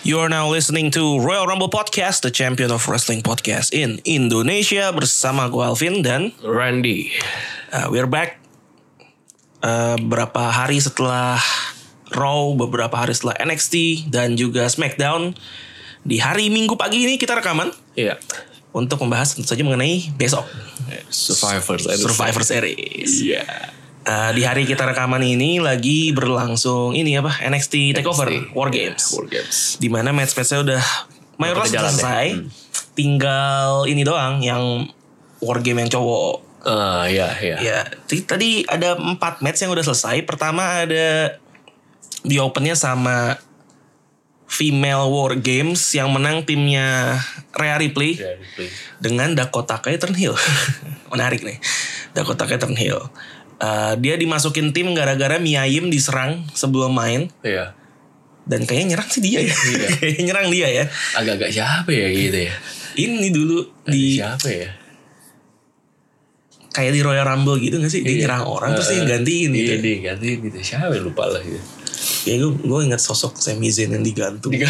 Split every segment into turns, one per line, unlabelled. You are now listening to Royal Rumble Podcast, the champion of wrestling podcast in Indonesia bersama gue Alvin dan
Randy.
uh, we're back. Uh, berapa hari setelah Raw, beberapa hari setelah NXT dan juga SmackDown di hari Minggu pagi ini kita rekaman
Iya.
untuk membahas tentu saja mengenai besok
Survivor.
Survivor Series.
Iya.
Uh, di hari kita rekaman ini lagi berlangsung ini apa NXT Takeover
NXT.
War Games.
War Games.
di mana match-matchnya udah mayoritas
Udah
udah
jalan Hmm.
selesai. Tinggal ini doang yang war game yang cowok.
Ah, iya, iya.
Ya, t- tadi ada empat match yang udah selesai. Pertama ada di opennya sama female war games yang menang timnya Rhea Ripley
Iya, replay.
dengan Dakota Kai Turnhill. Menarik nih. Dakota Kai Turnhill. Eh, dia dimasukin tim gara-gara Miayim diserang sebelum main
Iya.
dan kayaknya nyerang sih dia ya. Kayaknya nyerang dia ya.
Agak-agak siapa ya gitu ya?
ini dulu di
Siapa ya?
kayak di Royal Rumble gitu gak sih? Dia
Iya.
nyerang orang terus dia
Eh,
gantiin gitu.
Iya, dia gantiin gitu. Siapa ya? lupa lah gitu.
Ya gue gue ingat sosok Sami Zayn yang digantung.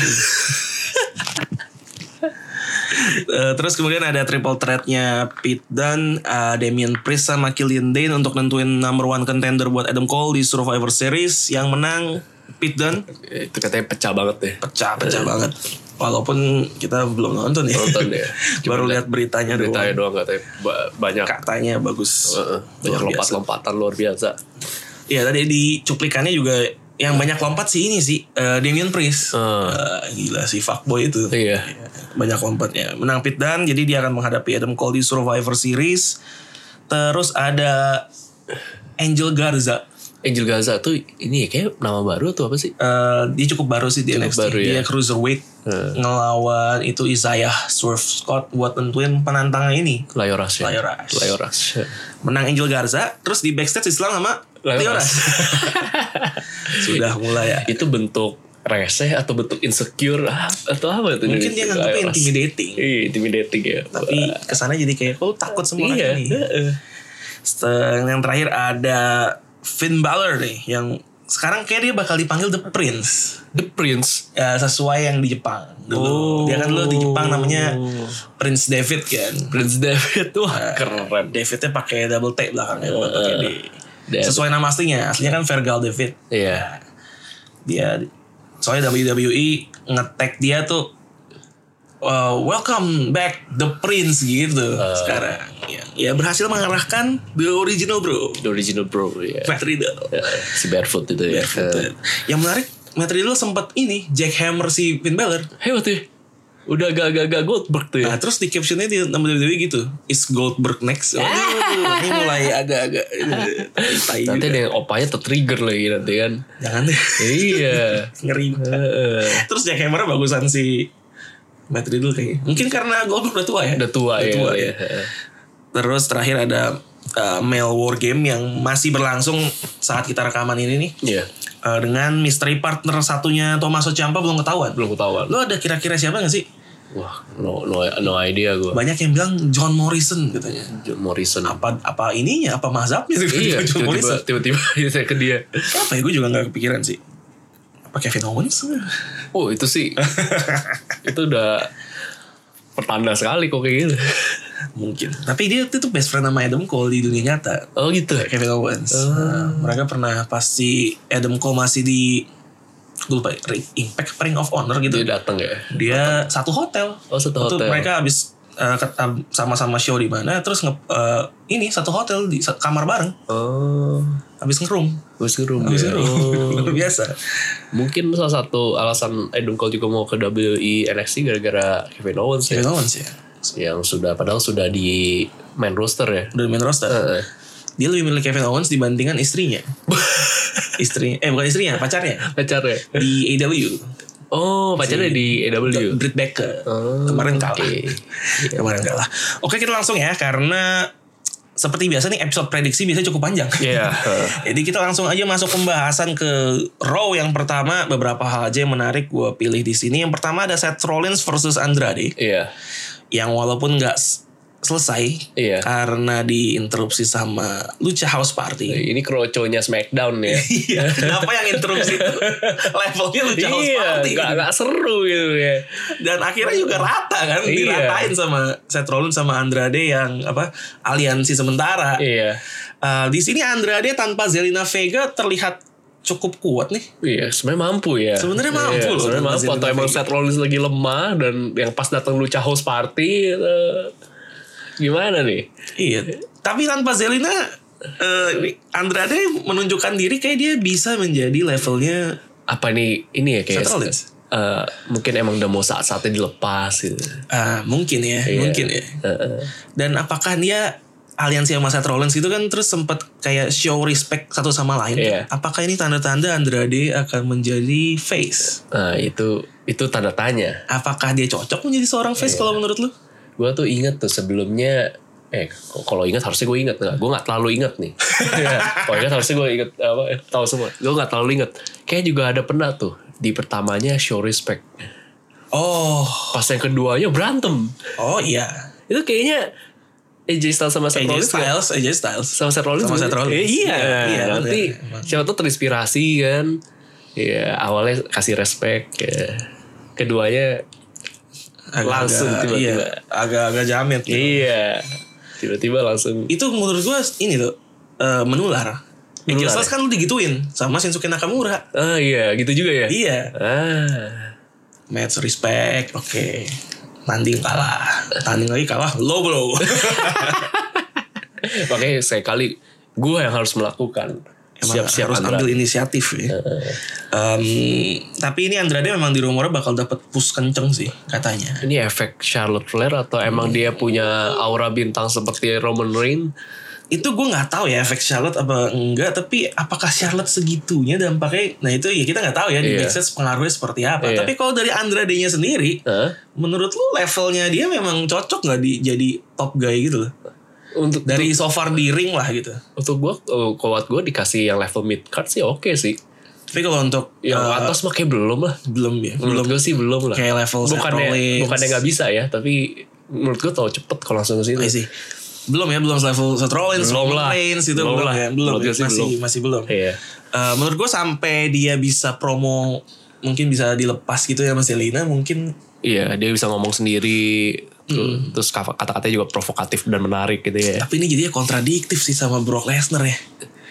Eh, terus kemudian ada triple threat-nya Pete Dunne, eh, Damian Priest sama Killian Dane untuk nentuin number one contender buat Adam Cole di Survivor Series yang menang Pete Dunne
Itu katanya pecah banget deh.
pecah
Eh.
pecah banget. Walaupun kita belum nonton ya.
Nonton ya. Cuma
Baru lihat beritanya
Ceritanya
doang.
doang katanya ba- banyak.
Katanya bagus.
Heeh, banyak
Luar biasa.
lompat-lompatan luar biasa.
Ya tadi di cuplikannya juga
Ya.
yang banyak lompat sih ini sih eh, Damian Priest.
Hmm.
Eh, gila si fuckboy itu.
Iya.
Banyak lompatnya. Menang Pit Dan jadi dia akan menghadapi Adam Cole di Survivor Series. Terus ada Angel Garza.
Angel Gaza tuh ini ya, kayak nama baru atau apa sih?
Eh, dia cukup baru sih di
Cukup
NXT.
baru, ya. Iya.
Dia cruiserweight ngelawan itu Isaiah Swerve Scott buat nentuin penantangnya ini.
Layoras ya.
Layoras.
Layoras.
Menang Angel Garza, terus di backstage Islam sama
Leonas.
Leonas. Sudah mulai ya.
itu bentuk reseh atau bentuk insecure ah, atau apa itu
Mungkin dia nganggapnya
Layoras.
intimidating.
Iya, intimidating ya.
tapi kesana jadi kayak oh takut semua
iya.
orang ini.
heeh.
Seteng- yang terakhir ada Finn Balor nih yang sekarang kayak dia bakal dipanggil The Prince
The Prince.
ya, sesuai yang di Jepang dulu.
Oh.
Dia kan dulu di Jepang namanya Prince David kan.
Prince David
Nah.
wah Oh. keren.
Davidnya pakai double T belakangnya bukan pakai D.
David.
Sesuai nama aslinya, aslinya kan Vergal David.
Iya.
Dia soalnya WWE ngetek dia tuh uh, welcome back the prince gitu
Eh.
sekarang ya, ya berhasil mengarahkan the original bro
The original bro ya.
Matt Riddle
Ya, si barefoot itu ya.
Dan yang menarik Matt Riddle sempat ini Jackhammer si Finn Balor
Hei waktu ya. Udah agak-agak Goldberg tuh ya.
Nah, terus di captionnya di nama WWE gitu Is Goldberg next Waduh, Ini mulai agak-agak eh, tai
Ah. Nanti
juga.
ada yang opanya tertrigger lagi nanti kan.
Jangan deh
iya.
Ngeri
Heeh.
Terus Jackhammer bagusan si Matt Riddle kayaknya Mungkin karena Goldberg udah tua ya
Udah tua ya.
tua ya.
Heeh.
Terus terakhir ada uh, Male War Game yang masih berlangsung saat kita rekaman ini nih.
Iya.
Uh, dengan misteri partner satunya Tommaso Ciampa belum ketahuan.
Belum ketahuan.
Lo ada kira-kira siapa gak sih?
Wah, no no no idea gue.
Banyak yang bilang John Morrison katanya.
John Morrison.
Apa apa ininya? Apa mazhabnya?
Iya,
John Morrison.
tiba-tiba tiba-tiba saya ke dia.
Siapa ya? Gue juga gak kepikiran sih. Apa Kevin Owens?
Oh, itu sih. itu udah pertanda sekali kok kayak gitu.
Mungkin. Tapi dia itu tuh best friend sama Adam Cole di dunia nyata.
Oh gitu.
Kevin Owens. Nah, mereka pernah pasti Adam Cole masih di gue lupa Ring- Impact apa Ring of Honor gitu.
Dia datang ya.
dia satu hotel.
Oh, satu
Itu
hotel.
mereka habis eh, ket- sama-sama show di mana terus nge, eh, ini satu hotel di sa- kamar bareng
Oh,
habis ngerum
habis ke room
habis
ya.
ngerum
Oh.
luar biasa
Mungkin salah satu alasan Adam Cole juga mau ke WWE NXT gara-gara Kevin Owens ya.
Kevin Owens ya
Yang sudah padahal sudah di main roster ya.
udah main roster
Heeh.
dia lebih milih Kevin Owens dibandingkan istrinya istrinya eh bukan istrinya pacarnya
Pacarnya.
di AW
Oh, pacarnya di AW.
Britt Baker
Iya. Oh, iya.
kemarin kalah
Oke.
kemarin kalah oke kita langsung ya karena seperti biasa nih episode prediksi biasanya cukup panjang
Iya. heeh.
Jadi kita langsung aja masuk pembahasan ke Raw yang pertama beberapa hal aja yang menarik gue pilih di sini. Yang pertama ada Seth Rollins versus Andrade
Iya.
yang walaupun nggak s- selesai
Iya.
karena diinterupsi sama Lucha House Party.
Ini kroconya Smackdown ya.
Iya, kenapa yang interupsi itu levelnya Lucha House
iya,
Party?
nggak nggak seru gitu ya.
Dan akhirnya juga rata kan,
Iya.
diratain sama Seth Rollins sama Andrade yang apa aliansi sementara.
Iya,
Eh, di sini Andrade tanpa Zelina Vega terlihat cukup kuat nih.
iya, sebenarnya mampu ya.
Sebenarnya mampu
Iya,
loh.
Sebenarnya mampu atau emang Seth Rollins lagi lemah dan yang pas datang Lucha House Party eh, gimana nih?
Iya. Tapi tanpa Zelina, eh, Andrade menunjukkan diri kayak dia bisa menjadi levelnya
Apa nih ini ya kayak
Seth Rollins.
eh, mungkin emang udah mau saat-saatnya dilepas gitu.
ah, mungkin ya,
Iya.
mungkin ya.
Heeh.
Dan apakah dia aliansi sama Seth Rollins itu kan terus sempat kayak show respect satu sama lain.
Iya.
Apakah ini tanda-tanda Andrade akan menjadi face?
Nah, itu itu tanda tanya.
Apakah dia cocok menjadi seorang face
Iya.
kalau menurut lu?
Gue tuh inget tuh sebelumnya eh k- kalau inget harusnya gue inget nggak gue nggak terlalu inget nih Iya, kalau inget harusnya gue inget apa eh, tahu semua gue nggak terlalu inget kayak juga ada pernah tuh di pertamanya show respect
Oh,
pas yang keduanya berantem
oh iya.
itu kayaknya AJ Styles sama
AJ
Seth Rollins ya? nggak-
Styles, AJ Styles.
sama Seth Rollins
Sama
juga.
Seth Rollins.
Eh, iya,
Iya, iya,
nanti
bener, emang.
siapa tuh terinspirasi kan Iya awalnya kasih respect ya. keduanya Langsung tiba-tiba.
Iya, agak-agak jamet. gitu.
iya tiba-tiba langsung
itu menurut gue ini tuh eh, menular.
Menular, ya?
menular kan lu digituin sama Shinsuke Nakamura.
Ah iya, gitu juga ya.
Iya.
Ah.
Match respect. Oke. Tanding kalah. Tanding lagi kalah. Low blow.
Makanya sekali gue yang harus melakukan.
Emang
Siap-siap
harus
Andrade.
ambil inisiatif ya. Em, tapi ini Andrade memang di rumornya bakal dapat push kenceng sih katanya.
Ini efek Charlotte Flair atau emang dia
Hmm.
punya aura bintang seperti Roman Reigns?
Itu gue nggak tahu ya efek Charlotte apa enggak. Tapi apakah Charlotte segitunya dampaknya? Nah itu ya kita nggak tahu ya di
Iya.
big stage pengaruhnya seperti apa.
Iya.
Tapi kalau dari Andrade-nya sendiri,
Hah?
menurut lu levelnya dia memang cocok nggak di jadi top guy gitu loh
Untuk
dari
dari
so far di ring lah gitu
untuk gue kuat gue dikasih yang level mid card sih oke sih.
tapi kalau untuk
Yang
eh,
atas mah kayak belum lah.
belum ya
Iya. Menurut gue sih belum lah.
kayak level Seth
Bukannya
Rollins.
bukannya nggak bisa ya, tapi menurut gue tau cepet kalau langsung ke
Iya
sini.
sih belum ya belum level Seth Rollins
Belum
Roman
lah.
Reigns itu
Belum
belum,
lah.
ya belum
Menurut
ya.
gue sih
masih
belum.
masih belum
Iya.
Eh, menurut gue sampai dia bisa promo mungkin bisa dilepas gitu ya Mas Elina mungkin
Iya, dia bisa ngomong sendiri.
Hmm.
Terus, terus kata-katanya juga provokatif dan menarik gitu ya.
tapi ini jadinya kontradiktif sih sama Brock Lesnar ya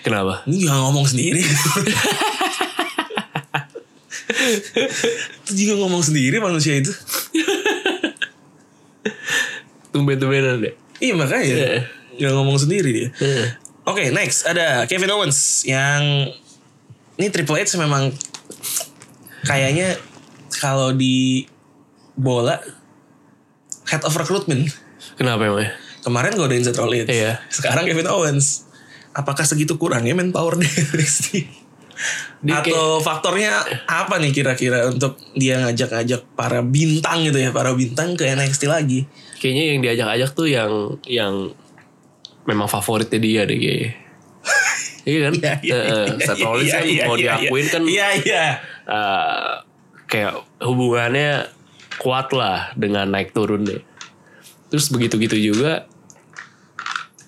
Kenapa?
ini juga ngomong sendiri itu juga ngomong sendiri manusia itu
Tumben-tumbenan deh.
Iya makanya
Iya.
nggak ngomong sendiri dia. Oke next ada Kevin Owens yang ini Triple H memang kayaknya kalau di bola head of recruitment
Kenapa emang ya?
kemarin godain Seth Rollins.
Iya.
Sekarang Kevin Owens. Apakah segitu kurangnya manpower di NXT?
Dia
Atau faktornya apa nih kira-kira untuk dia ngajak-ngajak para bintang gitu ya, para bintang ke NXT lagi?
Kayaknya yang diajak-ajak tuh yang yang memang favoritnya dia deh kayaknya. Iya kan?
Iya, iya,
Heeh.
iya,
Seth
iya,
Rollins
iya,
kan
iya,
mau
iya,
diakuin kan
Iya, iya.
eh, kayak hubungannya kuat lah dengan naik turun deh. Terus begitu-gitu juga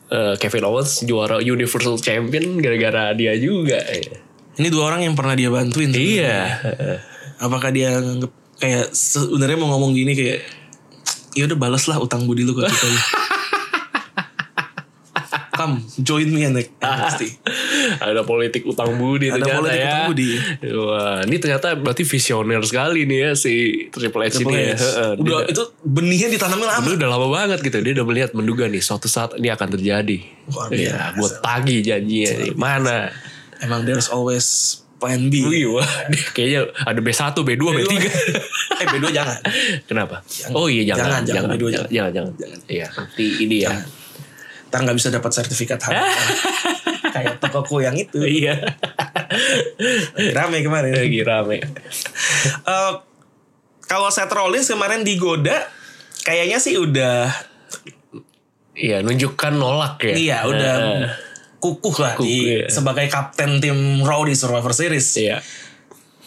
eh, Kevin Owens juara Universal Champion gara-gara dia juga. ya.
Ini dua orang yang pernah dia bantuin.
Iya.
Apakah dia nganggep kayak sebenarnya mau ngomong gini kayak ya udah balas lah utang budi lu ke kita. lu." Come join me and NXT.
Ada politik utang budi
Ada
ternyata
politik
ya.
utang budi.
Wah, ini ternyata berarti visioner sekali nih ya si Triple H ini ya.
Boleh.
Heeh,
Udah
dia udah,
itu benihnya ditanamnya lama.
udah lama banget gitu. Dia udah melihat menduga nih suatu saat ini akan terjadi.
Luar
Iya, gue tagih janjinya nih. Mana?
Emang there's always plan B.
Wih, wah, dia kayaknya ada B1, B2, B3.
eh B2 jangan.
Kenapa? Oh iya
Jangan, jangan,
jangan, jangan,
B2
jangan, jangan, jangan. Iya, nanti ini ya.
Ntar nggak bisa dapat sertifikat halal. kayak tokoku yang itu.
Iya,
Rame kemarin.
lagi rame.
Eh, kalau Seth Rollins kemarin digoda, kayaknya sih udah,
Iya, nunjukkan nolak ya.
iya udah
Heeh.
kukuh lah
Kukuh,
di-
iya.
sebagai kapten tim Raw di Survivor Series.
Iya.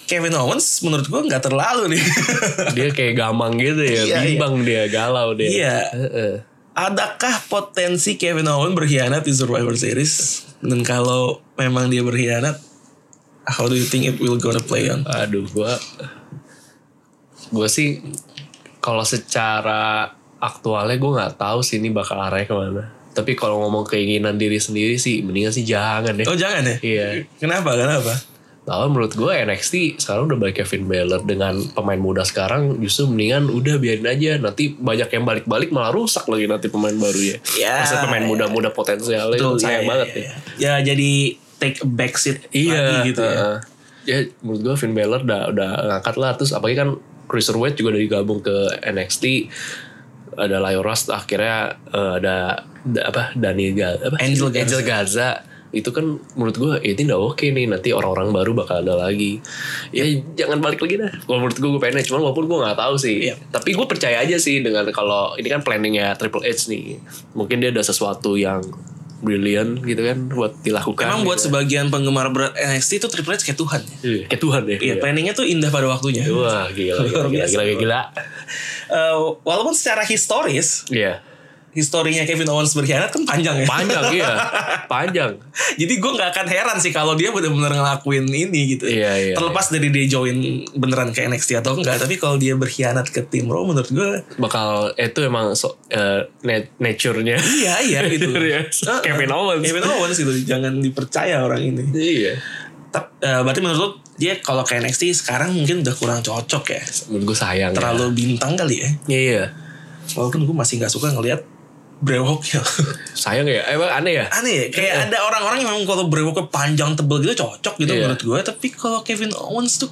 Kevin Owens menurut gua nggak terlalu nih.
dia kayak gamang gitu
Iya,
ya
iya.
bimbang dia galau dia
Iya.
Heeh.
adakah potensi Kevin Owens berkhianat di Survivor Series? Dan kalau memang dia berkhianat, how do you think it will gonna play on?
Aduh, gua gua sih kalau secara aktualnya gua nggak tahu sih ini bakal arahnya kemana. Tapi kalau ngomong keinginan diri sendiri sih, mendingan sih jangan deh.
Oh jangan ya?
Iya.
Kenapa? Kenapa?
Lalu menurut gua NXT sekarang udah balik Kevin Baylor dengan pemain muda sekarang justru mendingan udah biarin aja nanti banyak yang balik-balik malah rusak lagi nanti pemain barunya.
Ya,
Maksudnya pemain
ya.
muda-muda potensialnya
Betul,
itu sayang
iya,
banget
iya,
ya.
iya. Ya jadi take a back seat lagi
Iya
gitu ya.
heeh. Ya, menurut gue Finn Balor udah, udah ngangkat lah Terus apalagi kan Cruiserweight juga udah digabung ke NXT Ada Lyoros akhirnya eh, ada, da- apa Daniel Ga- apa?
Angel Garza.
Gaza. Itu kan menurut gue ini udah oke nih Nanti orang-orang baru bakal ada lagi Ya jangan balik lagi dah Kalau menurut gue gue pengennya Cuman walaupun gue gak tahu sih
Iya.
Tapi gue percaya aja sih dengan kalau Ini kan planningnya Triple H nih Mungkin dia ada sesuatu yang Brilliant gitu kan Buat dilakukan
Emang
gitu
buat sebagian penggemar berat NXT itu Triple H kayak Tuhan. ya?
Iya, Kayak Tuhan ya.
Iya, planningnya tuh indah pada waktunya.
Wah,
Luar
gila, gila, gila,
biasa.
gila, gila, gila.
Eh, walaupun secara historis,
Iya.
historinya Kevin Owens berkhianat kan panjang ya.
Panjang, iya. Panjang.
Jadi gue nggak akan heran sih kalau dia benar-benar ngelakuin ini gitu.
Iya, iya,
Terlepas dari dia join beneran ke NXT atau enggak, tapi kalau dia berkhianat ke tim Raw menurut gue
Bakal itu emang so, eh, na- nature-nya.
iya iya gitu.
Iya, Kevin Owens.
Kevin Owens gitu, jangan dipercaya orang ini.
Iya.
Tap- eh, berarti menurut lo dia kalau ke NXT sekarang mungkin udah kurang cocok ya.
Menurut gue sayang. ya.
Terlalu bintang kali ya.
Iya, iya.
Walaupun gue masih nggak suka ngelihat brewok ya.
Sayang ya. Emang aneh ya?
Aneh ya, kayak ada orang-orang yang memang kalau brewoknya panjang tebel gitu cocok gitu
Iya.
menurut gue. Tapi kalau Kevin Owens tuh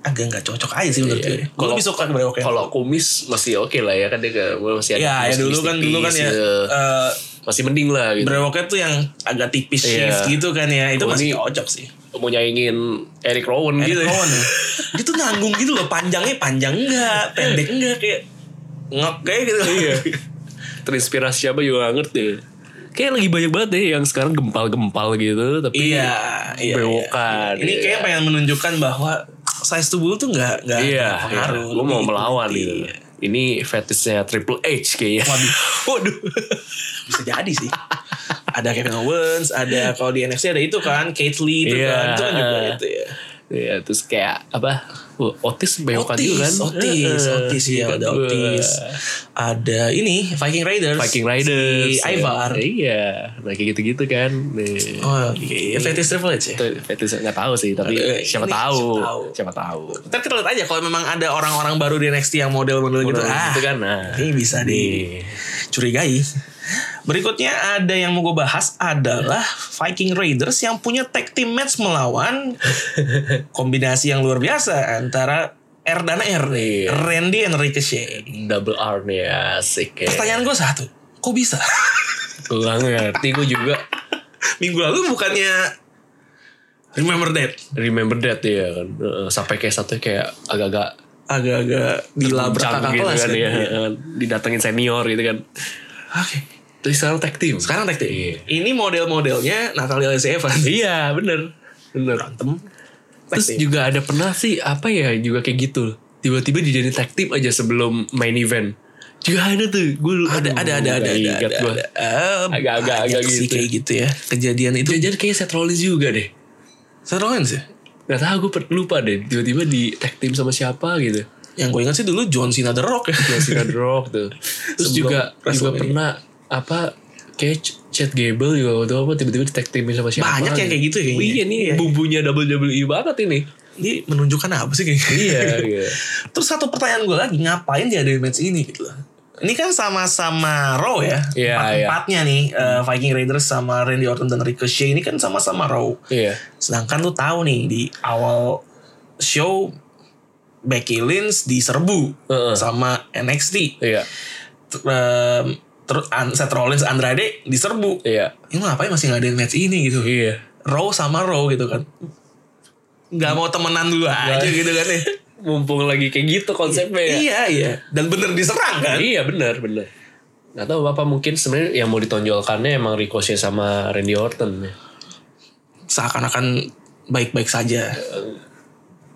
agak nggak cocok aja sih menurut
Iya.
gue. Gue lebih suka brewoknya.
Kalau kumis masih oke lah ya kan dia ke- masih ada
Ya, ya
kumis
dulu kan dulu kan ya
tipis-tipis, gitu.
eh,
masih mending lah gitu.
brewoknya tuh yang agak tipis
Iya.
shift gitu kan ya itu
Kalau
masih
ini-
cocok sih.
Mau nyaingin Eric Rowan gitu.
Eric
ya.
Rowan ya. Dia tuh nanggung gitu loh, panjangnya panjang enggak, pendek enggak kayak ngok kayak gitu.
Iya. Terinspirasi siapa juga gak ngerti. Kayak lagi banyak banget deh yang sekarang gempal-gempal gitu tapi
iya, iya.
Bewokan,
Ini
iya.
kayak pengen menunjukkan bahwa size tubuh tuh enggak enggak
Iya,
pengaruh.
gue mau
Gitu.
melawan gitu.
Iya.
Ini fetishnya Triple H kayaknya.
Waduh.
Waduh.
Bisa jadi sih. ada Kevin Owens, ada kalau di NFC ada itu kan, Kate Lee itu
Iya.
kan, itu kan juga itu ya.
Iya, terus kayak apa? Wah, Otis bewokan juga kan?
Otis,
Heeh.
Otis ya,
Kan
ada
gua.
Otis. Ada ini Viking Raiders.
Viking Riders. ya.
Si Ivar.
Iya, nah kayak gitu-gitu kan. Nih.
Oh, iya, fetish Triple H ya.
Itu fetish nggak tahu sih, tapi
Eh, ini
siapa, tahu.
siapa tahu.
Siapa tahu.
Ntar kita lihat aja kalau memang ada orang-orang baru di NXT yang model-model gitu. Ah,
Gitu kan. Nah.
ini bisa dicurigai.
Nih.
Berikutnya ada yang mau gue bahas adalah Viking Raiders yang punya tag team match melawan kombinasi yang luar biasa antara R dan R nih.
Iya.
Randy and Ricochet.
Double R nih asik ya.
Pertanyaan gue satu, kok bisa?
Gue nggak ngerti gue juga.
Minggu lalu bukannya Remember That
Remember that ya kan. Heeh, Sampai kayak satu kayak agak-agak
agak-agak dilabrak
Cabut
kakak
gitu
kelas
kan,
kan?
ya.
Oke.
Eh, didatengin senior gitu kan terus sekarang tag team
Sekarang tag team.
Iya.
Ini model-modelnya Natalia Lacey Evans.
iya bener bener
Berantem. Tag
terus
team.
juga ada pernah sih apa ya juga kayak gitu tiba-tiba dijadiin tag team aja sebelum main event juga ada tuh gue
ada ada
Hmm,
ada ada ada ada, ada. Eh,
Agak-agak-
banyak
agak
sih
gitu.
kayak gitu ya kejadian itu
jadi kayaknya Seth Rollins juga deh
Seth Rollins ya
Gak tau gue lupa deh Tiba-tiba di tag team sama siapa gitu
yang gue ingat sih dulu John Cena The Rock ya
Jessica The Rock tuh Terus
Sebelum
juga Juga
WrestleMania.
pernah Apa Kayak Ch- Chad Gable juga waktu apa Tiba-tiba di tag team sama siapa
Banyak yang kayak gitu ya kayaknya.
Iya nih
Iya.
Bumbunya WWE banget ini
ini menunjukkan apa sih kayak gitu?
Iya iya.
terus satu pertanyaan gue lagi ngapain dia ada di match ini gitu loh ini kan sama-sama Raw ya
Iya, iya.
empatnya nih eh, Viking Raiders sama Randy Orton dan Ricochet ini kan sama-sama Raw
Iya
sedangkan lu tahu nih di awal show Becky Lynch diserbu
Heeh.
sama NXT
Iya
Ter- em, terus An- Seth Rollins Andrade diserbu.
Iya
Ini lu ngapain masih ngadain match ini gitu.
Iya
Raw sama Raw gitu kan. Gak mau temenan dulu aja gitu kan ya.
Mumpung lagi kayak gitu konsepnya ya.
Iya iya. Dan bener diserang kan.
Iya benar benar. Gak tahu apa mungkin sebenarnya yang mau ditonjolkannya emang Ricochet sama Randy Orton ya.
Seakan-akan baik-baik saja.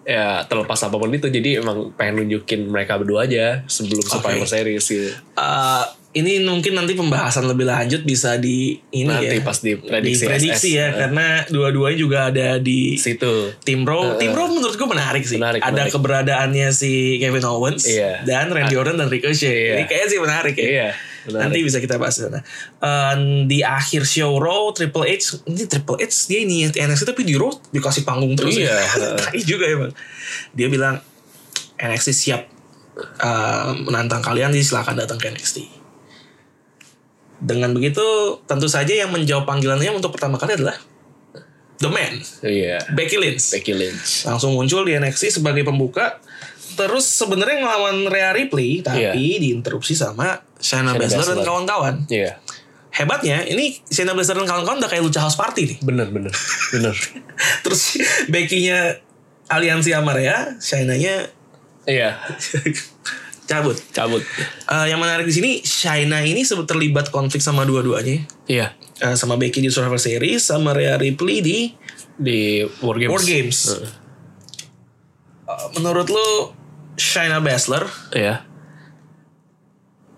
Ya terlepas apapun itu jadi emang pengen nunjukin mereka berdua aja sebelum Survivor Series gitu.
Eh, ini mungkin nanti pembahasan lebih lanjut bisa di ini
Nanti
ya.
pas di prediksi
diprediksi
SS.
ya
Eh.
karena dua-duanya juga ada di
situ
tim Row. Tim Row menurut gue menarik sih.
Eh, Menarik,
ada
menarik.
keberadaannya si Kevin Owens
Iya.
dan Randy Orton dan Ricochet. Ini kayaknya sih menarik ya.
iya
Nanti bisa kita bahas di sana. Eh, di akhir show Raw Triple H ini Triple H dia ini NXT tapi di Raw dikasih panggung terus.
Iya.
Ya. Tai juga emang. Dia bilang NXT siap eh, menantang kalian jadi silakan datang ke NXT. Dengan begitu tentu saja yang menjawab panggilannya untuk pertama kali adalah The Man,
iya
Becky Lynch.
Becky Lynch
Langsung muncul di NXT sebagai pembuka. Terus sebenarnya ngelawan Rhea Ripley tapi
Iya.
diinterupsi sama Shayna
Shayna
Baszler dan
Baszler.
kawan-kawan
iya
hebatnya ini Shayna Blazer dan kawan-kawan udah kayak Lucha House Party nih.
bener bener bener
Terus Becky-nya aliansi sama Rhea, Shayna-nya
iya
cabut.
cabut
Eh, yang menarik di sini Shayna ini sebut terlibat konflik sama dua-duanya.
iya
Eh, sama Becky di Survivor Series, sama Rhea Ripley di
di War Games
War Games.
Heeh.
Eh, menurut lu Shayna Baszler
iya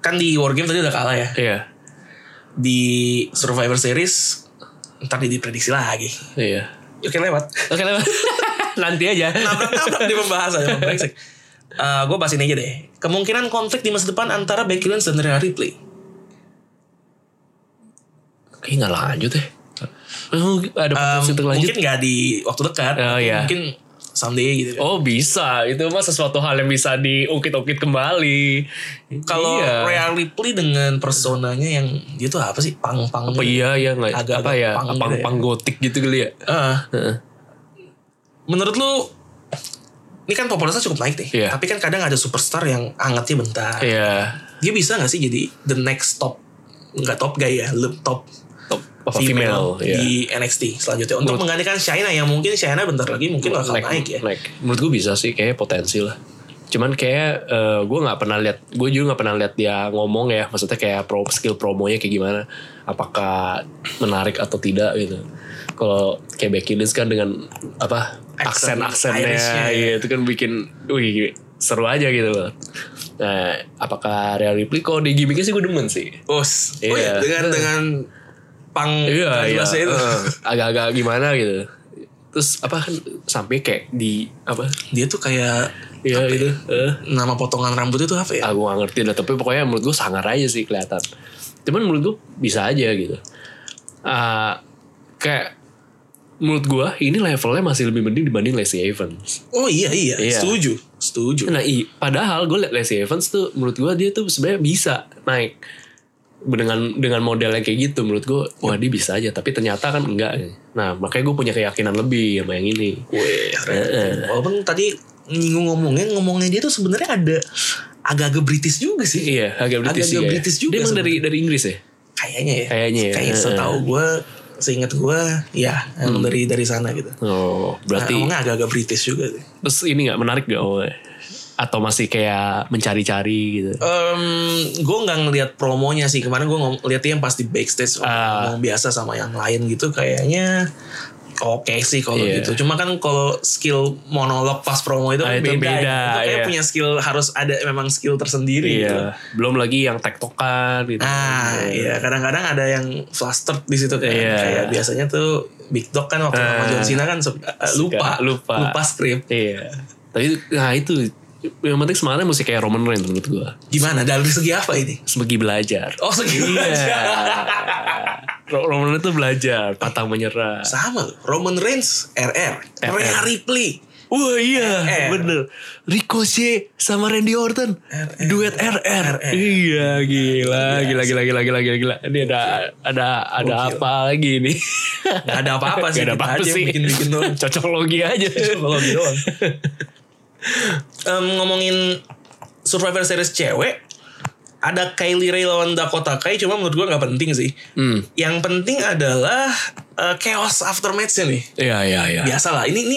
kan di War Games tadi udah kalah ya.
iya
Di Survivor Series ntar diprediksi lagi.
iya
Oke lewat.
oke lewat. nanti aja
nabrak-nabrak di pembahasan emang brengsek. Eh, gue bahas ini aja deh. Kemungkinan konflik di masa depan antara Becky Lynch dan Rhea Ripley.
kayaknya nggak lanjut ya Oh, ada potensi
Em,
untuk lanjut
mungkin nggak di waktu dekat.
Oh, iya.
Mungkin someday gitu.
Oh bisa, itu mah sesuatu hal yang bisa diungkit-ungkit kembali.
Kalau
iya,
Rhea Ripley dengan personanya yang dia tuh apa sih? Pang-pang. gitu.
apa iya ya nggak
Agak-agak
apa ya
punk
pang
gitu ya.
pang gotik gitu kali ya.
Eh,
Heeh.
menurut lu ini kan popularitasnya cukup naik nih.
Iya.
Tapi kan kadang ada superstar yang angetnya bentar.
Iya.
Dia bisa nggak sih jadi the next top nggak top guy ya, le- top
Top apa female, ya.
di NXT selanjutnya untuk menggantikan Shaina yang mungkin Shaina bentar lagi mungkin bakal naik, ya.
naik. Menurut gue bisa sih, kayaknya potensi lah. Cuman kayak eh, gue nggak pernah lihat, gue juga nggak pernah lihat dia ngomong ya. Maksudnya kayak pro skill promonya kayak gimana, apakah menarik atau tidak gitu. Kalau kayak Becky Lynch kan dengan apa
Aksen
aksen aksennya,
Irishnya, ya.
iya, itu kan bikin, wih seru aja gitu loh. Nah, apakah Real Ripley kalau di gimmicknya sih gue demen sih.
Bos.
Iya.
Oh iya, dengan
Iya.
dengan pang
Iya, iya.
transbahasa itu.
eh, Agak-agak gimana gitu. Terus apa kan sampai kayak di apa?
Dia tuh kayak
Iya
ya?
gitu. Eh.
nama potongan rambutnya tuh apa ya?
aku gak ngerti dah tapi pokoknya menurut gue sangar aja sih kelihatan cuman menurut gue bisa aja gitu Ah, kayak menurut gue ini levelnya masih lebih mending dibanding Lacey Evans
Oh iya iya,
Iya.
setuju. Setuju.
nah i, padahal gue liat Lacey Evans tuh menurut gue dia tuh sebenarnya bisa naik dengan dengan modelnya kayak gitu menurut gue wah dia bisa aja tapi ternyata kan enggak nah makanya gue punya keyakinan lebih sama yang ini
Weh, walaupun tadi nyinggung ngomongnya, ngomongnya dia tuh sebenarnya ada agak-agak British juga sih.
iya agak British,
Agak-agak
juga ya.
British juga
dia emang dari dari Inggris ya
Kayaknya ya.
Kayaknya ya.
Kayak
Eh,
setahu gue, seingat gue, ya emang dari dari sana gitu.
oh
Nah,
Hmm. berarti
ngomongnya agak-agak British juga sih.
Terus ini nggak menarik gak awalnya? Atau masih kayak mencari-cari gitu?
gue nggak ngelihat promonya sih kemarin gue ngeliatnya yang pas di backstage
Ah.
ngomong biasa sama yang lain gitu kayaknya oke sih kalau
Iya.
gitu cuma kan kalau skill monolog pas promo itu
Ah,
kan
itu
beda,
beda,
Itu kayak
iya.
punya skill harus ada memang skill tersendiri gitu
Iya. Belum lagi yang tektokan gitu.
ah iya kadang-kadang ada yang flustered di situ kayak
Iya.
kayak biasanya tuh Big Dog kan waktu sama
Ah.
John Cena kan suka- lupa
lupa.
lupa skrip
Iya. Tapi nah itu yang penting semangatnya mesti kayak Roman Reigns menurut gua.
gimana dari segi apa ini
Sebagai belajar.
oh segi
Iya.
aja
Ro- Roman Reigns tuh belajar, patang menyerah.
sama loh. Roman Reigns RR
RR.
Rhea Ripley
Wah iya,
RR.
bener. Ricochet sama Randy Orton.
RR.
Duet RR.
RR.
Iya, gila, gila, gila, gila, gila, gila, gila. Ini ada, ada, ada
Gokil.
apa lagi nih?
Gak ada apa-apa sih.
Gak
kita
ada apa-apa
aja yang
sih.
Bikin-bikin doang.
Cocok logi aja.
Kalau gitu doang. Em, ngomongin Survivor Series cewek. Ada Kylie Ray lawan Dakota Kai. Cuma menurut gue gak penting sih.
Hmm.
Yang penting adalah eh, chaos after match-nya nih.
Iya, iya, iya.
Biasalah. Ini, ini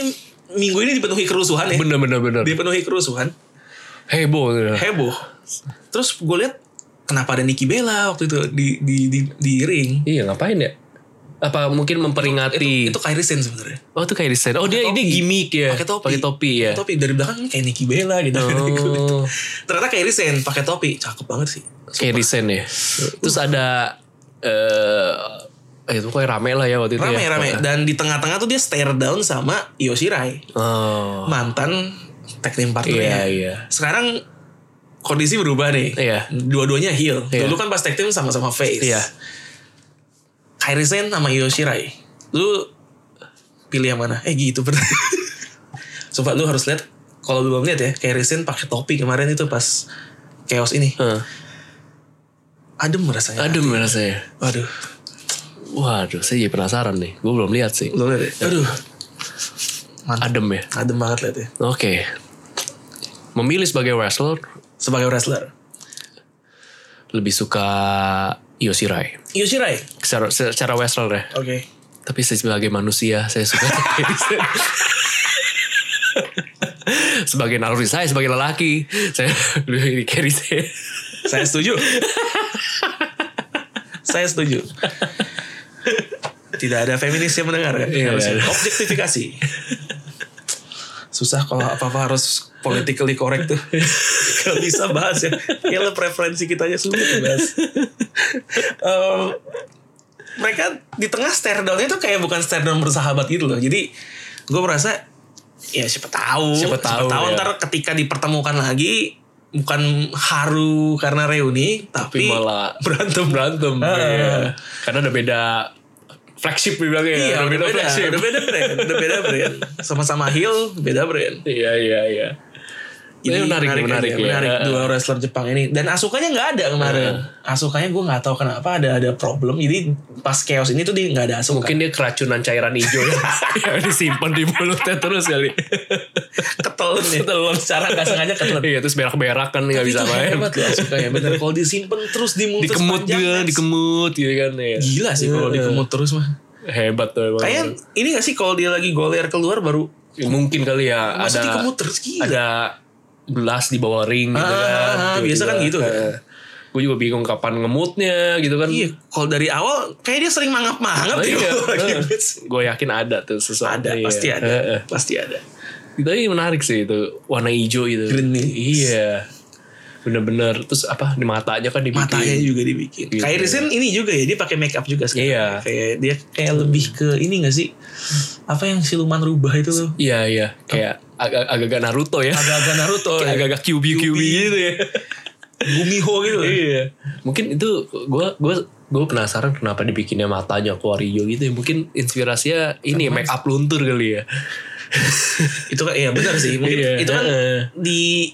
minggu ini dipenuhi kerusuhan ya.
Bener, bener, bener.
Dipenuhi kerusuhan.
Heboh. gitu.
Heboh. Terus gue lihat kenapa ada Nikki Bella waktu itu di di di, di ring.
Iya, ngapain ya? apa mungkin memperingati
Itu Kyrie Sen sebenarnya.
oh itu kayak desain oh dia
Pakai
ini
topi.
gimmick ya
Pakai topi.
pakai topi ya
Topi dari belakang kayak Nicky Bella gitu.
oh
Ternyata Kyrie Sen pakai topi, cakep banget sih.
kayak desain ya terus ada eh itu kayak rame lah ya waktu itu
Rame
ya
rame dan di tengah-tengah tuh dia stare down sama Yoshirai,
oh
mantan tag team
iya
partnernya.
iya
Sekarang kondisi berubah nih.
iya
Dua-duanya heel.
Iya.
Dulu kan pas tag team sama-sama face.
Iya.
Kairi Sen sama Yoshirai. Lu pilih yang mana? Eh gitu bener. Sumpah lu harus lihat kalau lu belum lihat ya, Kairi Sen pakai topi kemarin itu pas chaos ini.
Heeh.
Adem rasanya.
adem rasanya
Waduh.
waduh saya jadi penasaran nih gue belum lihat sih
Belum lihat ya? Aduh. Mantap.
adem ya
Adem banget lihat ya.
oke memilih sebagai wrestler
Sebagai wrestler.
lebih suka Yoshirai
Yoshirai.
secara, secara wrestler ya
Oke.
Tapi saya sebagai manusia saya suka Teddy Sam. sebagai naluri saya sebagai lelaki saya lebih carry saya.
Saya setuju. Saya setuju. Tidak ada feminis yang mendengar kan?
Iya,
Harusnya.
iya.
Objektifikasi. Susah kalau apa-apa harus politically correct tuh. Gak bisa bahas ya. Ya lo preferensi kita aja sulit bahas. Em, mereka di tengah stare down tuh kayak bukan stare down bersahabat gitu loh. Jadi gue merasa ya siapa tahu
Siapa tahu, ya.
ntar ketika dipertemukan lagi bukan haru karena reuni tapi,
Tapi malah
berantem
berantem
Ah.
iya. karena ada beda flagship dibilangnya ya,
iya
ada
udah
beda,
beda,
flagship
udah beda brand udah beda brand sama-sama heel beda brand
iya iya iya Ini menarik,
aja,
menarik ya.
menarik
Ah.
dua wrestler Jepang ini dan asukanya nggak ada kemarin
Iya.
asukanya gue nggak tahu kenapa ada ada problem jadi pas chaos ini tuh dia nggak ada asuka
mungkin dia keracunan cairan hijau yang disimpan di mulutnya terus kali
ketelun ya ketelun secara nggak sengaja ketelun
iya terus berak-berak kan nggak bisa
Itu
main
hebat loh asukanya bener kalau disimpan terus dimutus
dikemut
panjang,
dia
Max.
dikemut gitu kan ya.
gila sih kalau
Iya.
dikemut terus mah
hebat tuh emang.
Kayaknya ini gak sih kalau dia lagi goler keluar baru
mungkin kali ya
Masa
ada
dikemut terus gila.
ada belas di bawah ring gitu
Ah,
kan.
ah, ah, biasa kan gitu kan.
Gue juga bingung kapan ngemutnya gitu kan.
Iya, kalau dari awal kayak dia sering mangap-mangap
Oh,
ya
iya.
kalau lagi
Heeh.
match.
Gue yakin ada tuh sesuatu.
Ada,
Iya.
pasti ada.
Heeh. Gitu.
Pasti ada.
Tapi menarik sih itu warna hijau itu.
Green nih.
Iya. Bener-bener terus apa di matanya kan dibikin.
Matanya juga dibikin.
Gitu.
Kayak Risen ini juga ya, dia pakai make up juga sekarang.
Iya.
Kayak dia kayak lebih ke ini gak sih? Apa yang siluman rubah itu loh?
Iya iya kayak agak agak Naruto ya.
Agak-agak Naruto
Kayak
ya.
agak-agak QB QB gitu ya.
Gumiho gitu loh.
Iya. Mungkin itu gue gue gue penasaran kenapa dibikinnya matanya keluar hijau gitu ya. Mungkin inspirasinya ini ya, make up luntur kali ya.
itu kan iya benar sih. Mungkin
Iya.
itu kan
Heeh.
di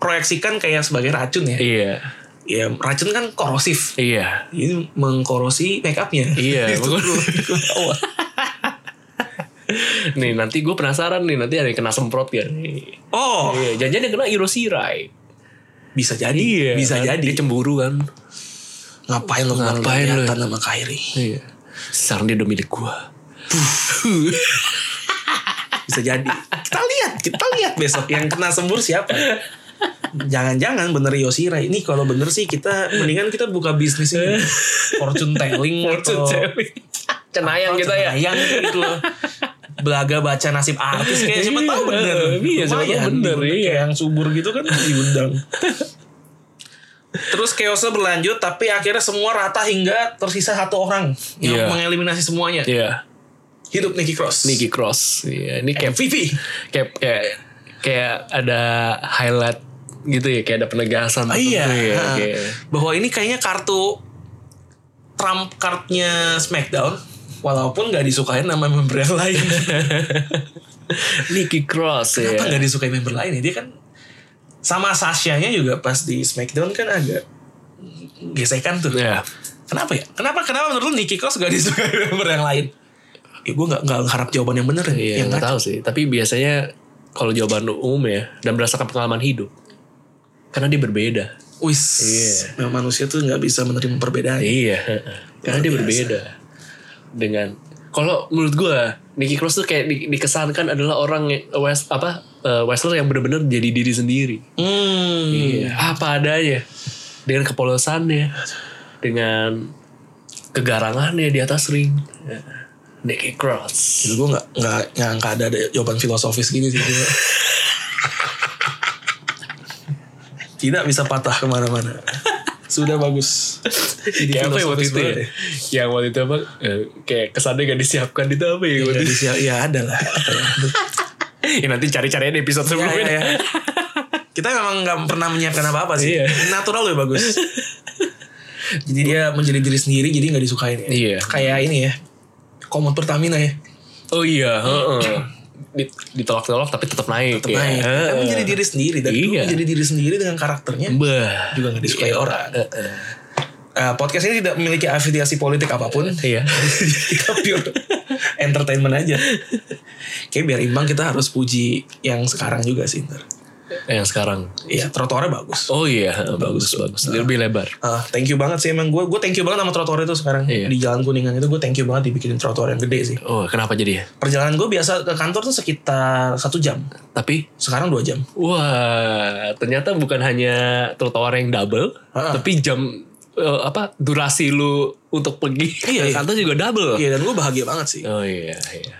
proyeksikan kayak sebagai racun ya.
Iya.
Ya racun kan korosif.
Iya.
Ini mengkorosi make upnya.
Iya.
Itu kan. keluar
Mungkin-
ke bawah.
nih nanti gue penasaran nih nanti ada yang kena semprot ya. Iya.
Oh,
Jangan-jangan yang kena Irosirai.
bisa jadi,
Iya,
bisa jadi.
Dia cemburu kan.
Ngapain lo
Ngapain
ngapain
lo?
lo ya? sama Kairi?
Iya. Sekarang dia udah milik gue.
Bisa jadi. kita lihat, kita lihat besok yang kena sembur siapa. Jangan-jangan bener Yosira ini kalau bener sih kita mendingan kita buka bisnis ini fortune telling
Fortune
atau
telling. Cenayang
atau
kita ya.
cenayang gitu loh. Belaga baca nasib artis kayak siapa
Iya,
tahu bener.
iya, siapa tahu
Lumayan,
bener,
diundang
iya.
kayak yang subur gitu kan diundang. Terus chaosnya berlanjut tapi akhirnya semua rata hingga tersisa satu orang yang
Iya.
mengeliminasi semuanya.
Iya.
Hidup Nicky Cross.
Nikki Cross. Iya. Ini kayak
MVP.
kayak kayak kayak ada highlight gitu ya kayak ada penegasan
Ah, iya.
gitu ya,
Ah.
kayak-
Bahwa ini kayaknya kartu Trump cardnya SmackDown walaupun nggak disukain sama member yang lain.
Iya. Nikki Cross ya
Kenapa nggak disukai member lain ya? Dia kan sama Sasha-nya juga pas di SmackDown kan agak gesekan tuh.
ya
Kenapa ya? Kenapa kenapa menurut lu Nikki Cross gak disukai member yang lain? Ya gue gak, nggak harap jawaban yang bener ya.
iya
yang
nggak
ngaco.
tahu sih tapi biasanya kalau jawaban umum ya dan berdasarkan pengalaman hidup karena dia berbeda
Wis,
Iya.
memang manusia tuh gak bisa menerima perbedaan.
iya karena dia
biasa.
berbeda dengan kalau menurut gua Nikki Cross tuh kayak di- dikesankan adalah orang yang- wes- apa eh, wrestler yang benar-benar jadi diri sendiri
Hmm.
Iya, apa adanya dengan kepolosannya dengan kegarangannya di atas ring. Ya. Nikki Cross.
Jadi gue gak, nggak nyangka ada, ada jawaban filosofis gini sih. Gila. Tidak bisa patah kemana-mana. Sudah bagus. Jadi
Kayak apa ya waktu
filosofis
itu ya?
banget ya?
Yang waktu itu apa? eh, Kayak kesannya gak disiapkan itu apa ya? waktu
Ya,
itu?
di siap- ya ada lah. Apa ya?
ya nanti cari-carinya di episode
Ya,
sebelumnya.
ya, ya. Kita memang nggak pernah menyiapkan apa-apa sih.
Iya.
Natural lebih bagus. jadi dia menjadi diri sendiri jadi nggak disukain ya.
Iya.
Kayak ini ya. Komod Pertamina ya.
Oh iya. heeh. Di- Ditolak-tolak tapi tetap naik. ya.
Tetap naik. Kan menjadi diri sendiri. Dan
Iya.
dulu menjadi diri sendiri dengan karakternya.
Bah.
Juga nggak disukai orang. Eh, podcast ini tidak memiliki afiliasi politik apapun.
Iya.
kita pure entertainment aja. Kayak biar imbang kita harus puji yang sekarang juga sih. ntar.
Yang sekarang.
Iya, trotoarnya bagus.
Oh iya. Bagus, bagus. Lebih lebar.
Ah, thank you banget sih emang gue gue thank you banget sama trotoar itu sekarang
Iya.
di Jalan Kuningan itu gue thank you banget dibikinin trotoar yang gede sih.
Oh kenapa jadi ya?
Perjalanan gue biasa ke kantor tuh sekitar satu jam.
Tapi
Sekarang dua jam.
Wah, ternyata bukan hanya trotoar yang double,
Ha-ha.
tapi jam eh, apa durasi lu untuk pergi
Iya,
ke
iya.
kantor juga double.
Iya dan gue bahagia banget sih.
Oh iya, iya.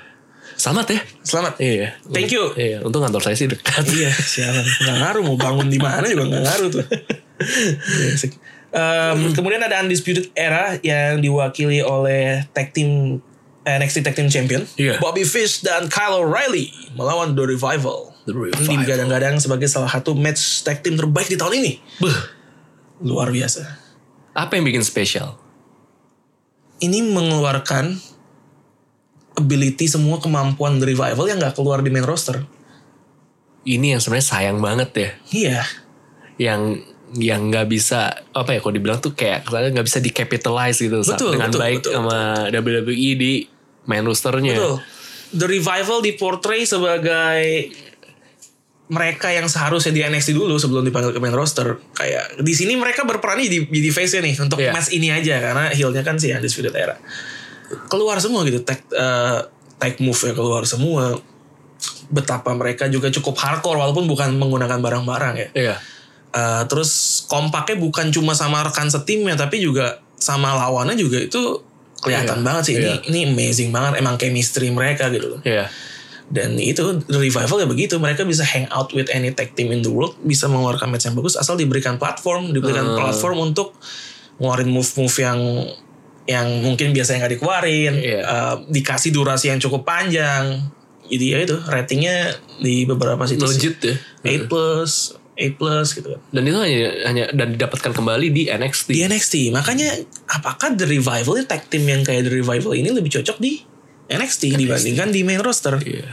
Selamat ya.
Selamat.
Iya.
Thank you.
Iya, untung kantor saya sih dekat.
Iya, sialan. Gak ngaruh mau bangun di mana juga gak ngaruh tuh. Iya, sek- Em, kemudian ada Undisputed Era yang diwakili oleh tag team NXT Tag Team Champion
Iya.
Bobby Fish dan Kyle O'Reilly melawan The Revival.
The Revival.
Ini digadang-gadang sebagai salah satu match tag team terbaik di tahun ini.
Beuh,
Luar biasa.
apa yang bikin spesial?
Ini mengeluarkan ability semua kemampuan The Revival yang gak keluar di main roster.
Ini yang sebenarnya sayang banget ya,
Iya.
yang yang nggak bisa apa ya kalau dibilang tuh kayak kesannya nggak bisa di capitalize gitu sa-
Betul,
dengan
betul,
baik
betul,
sama WWE di main rosternya.
Betul. The Revival diportray sebagai mereka yang seharusnya di NXT dulu sebelum dipanggil ke main roster. Kayak di sini mereka berperan jadi, jadi face-nya nih untuk
Iya.
match ini aja karena heel-nya kan si Undisputed Era. Keluar semua gitu tag eh, tag move-nya keluar semua. Betapa mereka juga cukup hardcore walaupun bukan menggunakan barang-barang ya.
Iya.
Eh, terus kompaknya bukan cuma sama rekan setimnya tapi juga sama lawannya juga itu kelihatan
Iya,
banget sih
iya.
ini ini amazing banget emang chemistry mereka gitu loh.
Iya.
Dan itu the revival ya begitu mereka bisa hang out with any tag team in the world bisa mengeluarkan match yang bagus asal diberikan platform
Hmm.
diberikan platform untuk ngeluarin move-move yang yang mungkin biasanya nggak dikeluarin
Iya.
eh, dikasih durasi yang cukup panjang jadi ya itu ratingnya di beberapa situs
Legit ya.
8 plus 8 plus gitu kan
dan itu hanya hanya dan didapatkan kembali di NXT.
di NXT. Makanya apakah The Revival ini tag team yang kayak The Revival ini lebih cocok di NXT, dibandingkan di main roster?
Iya.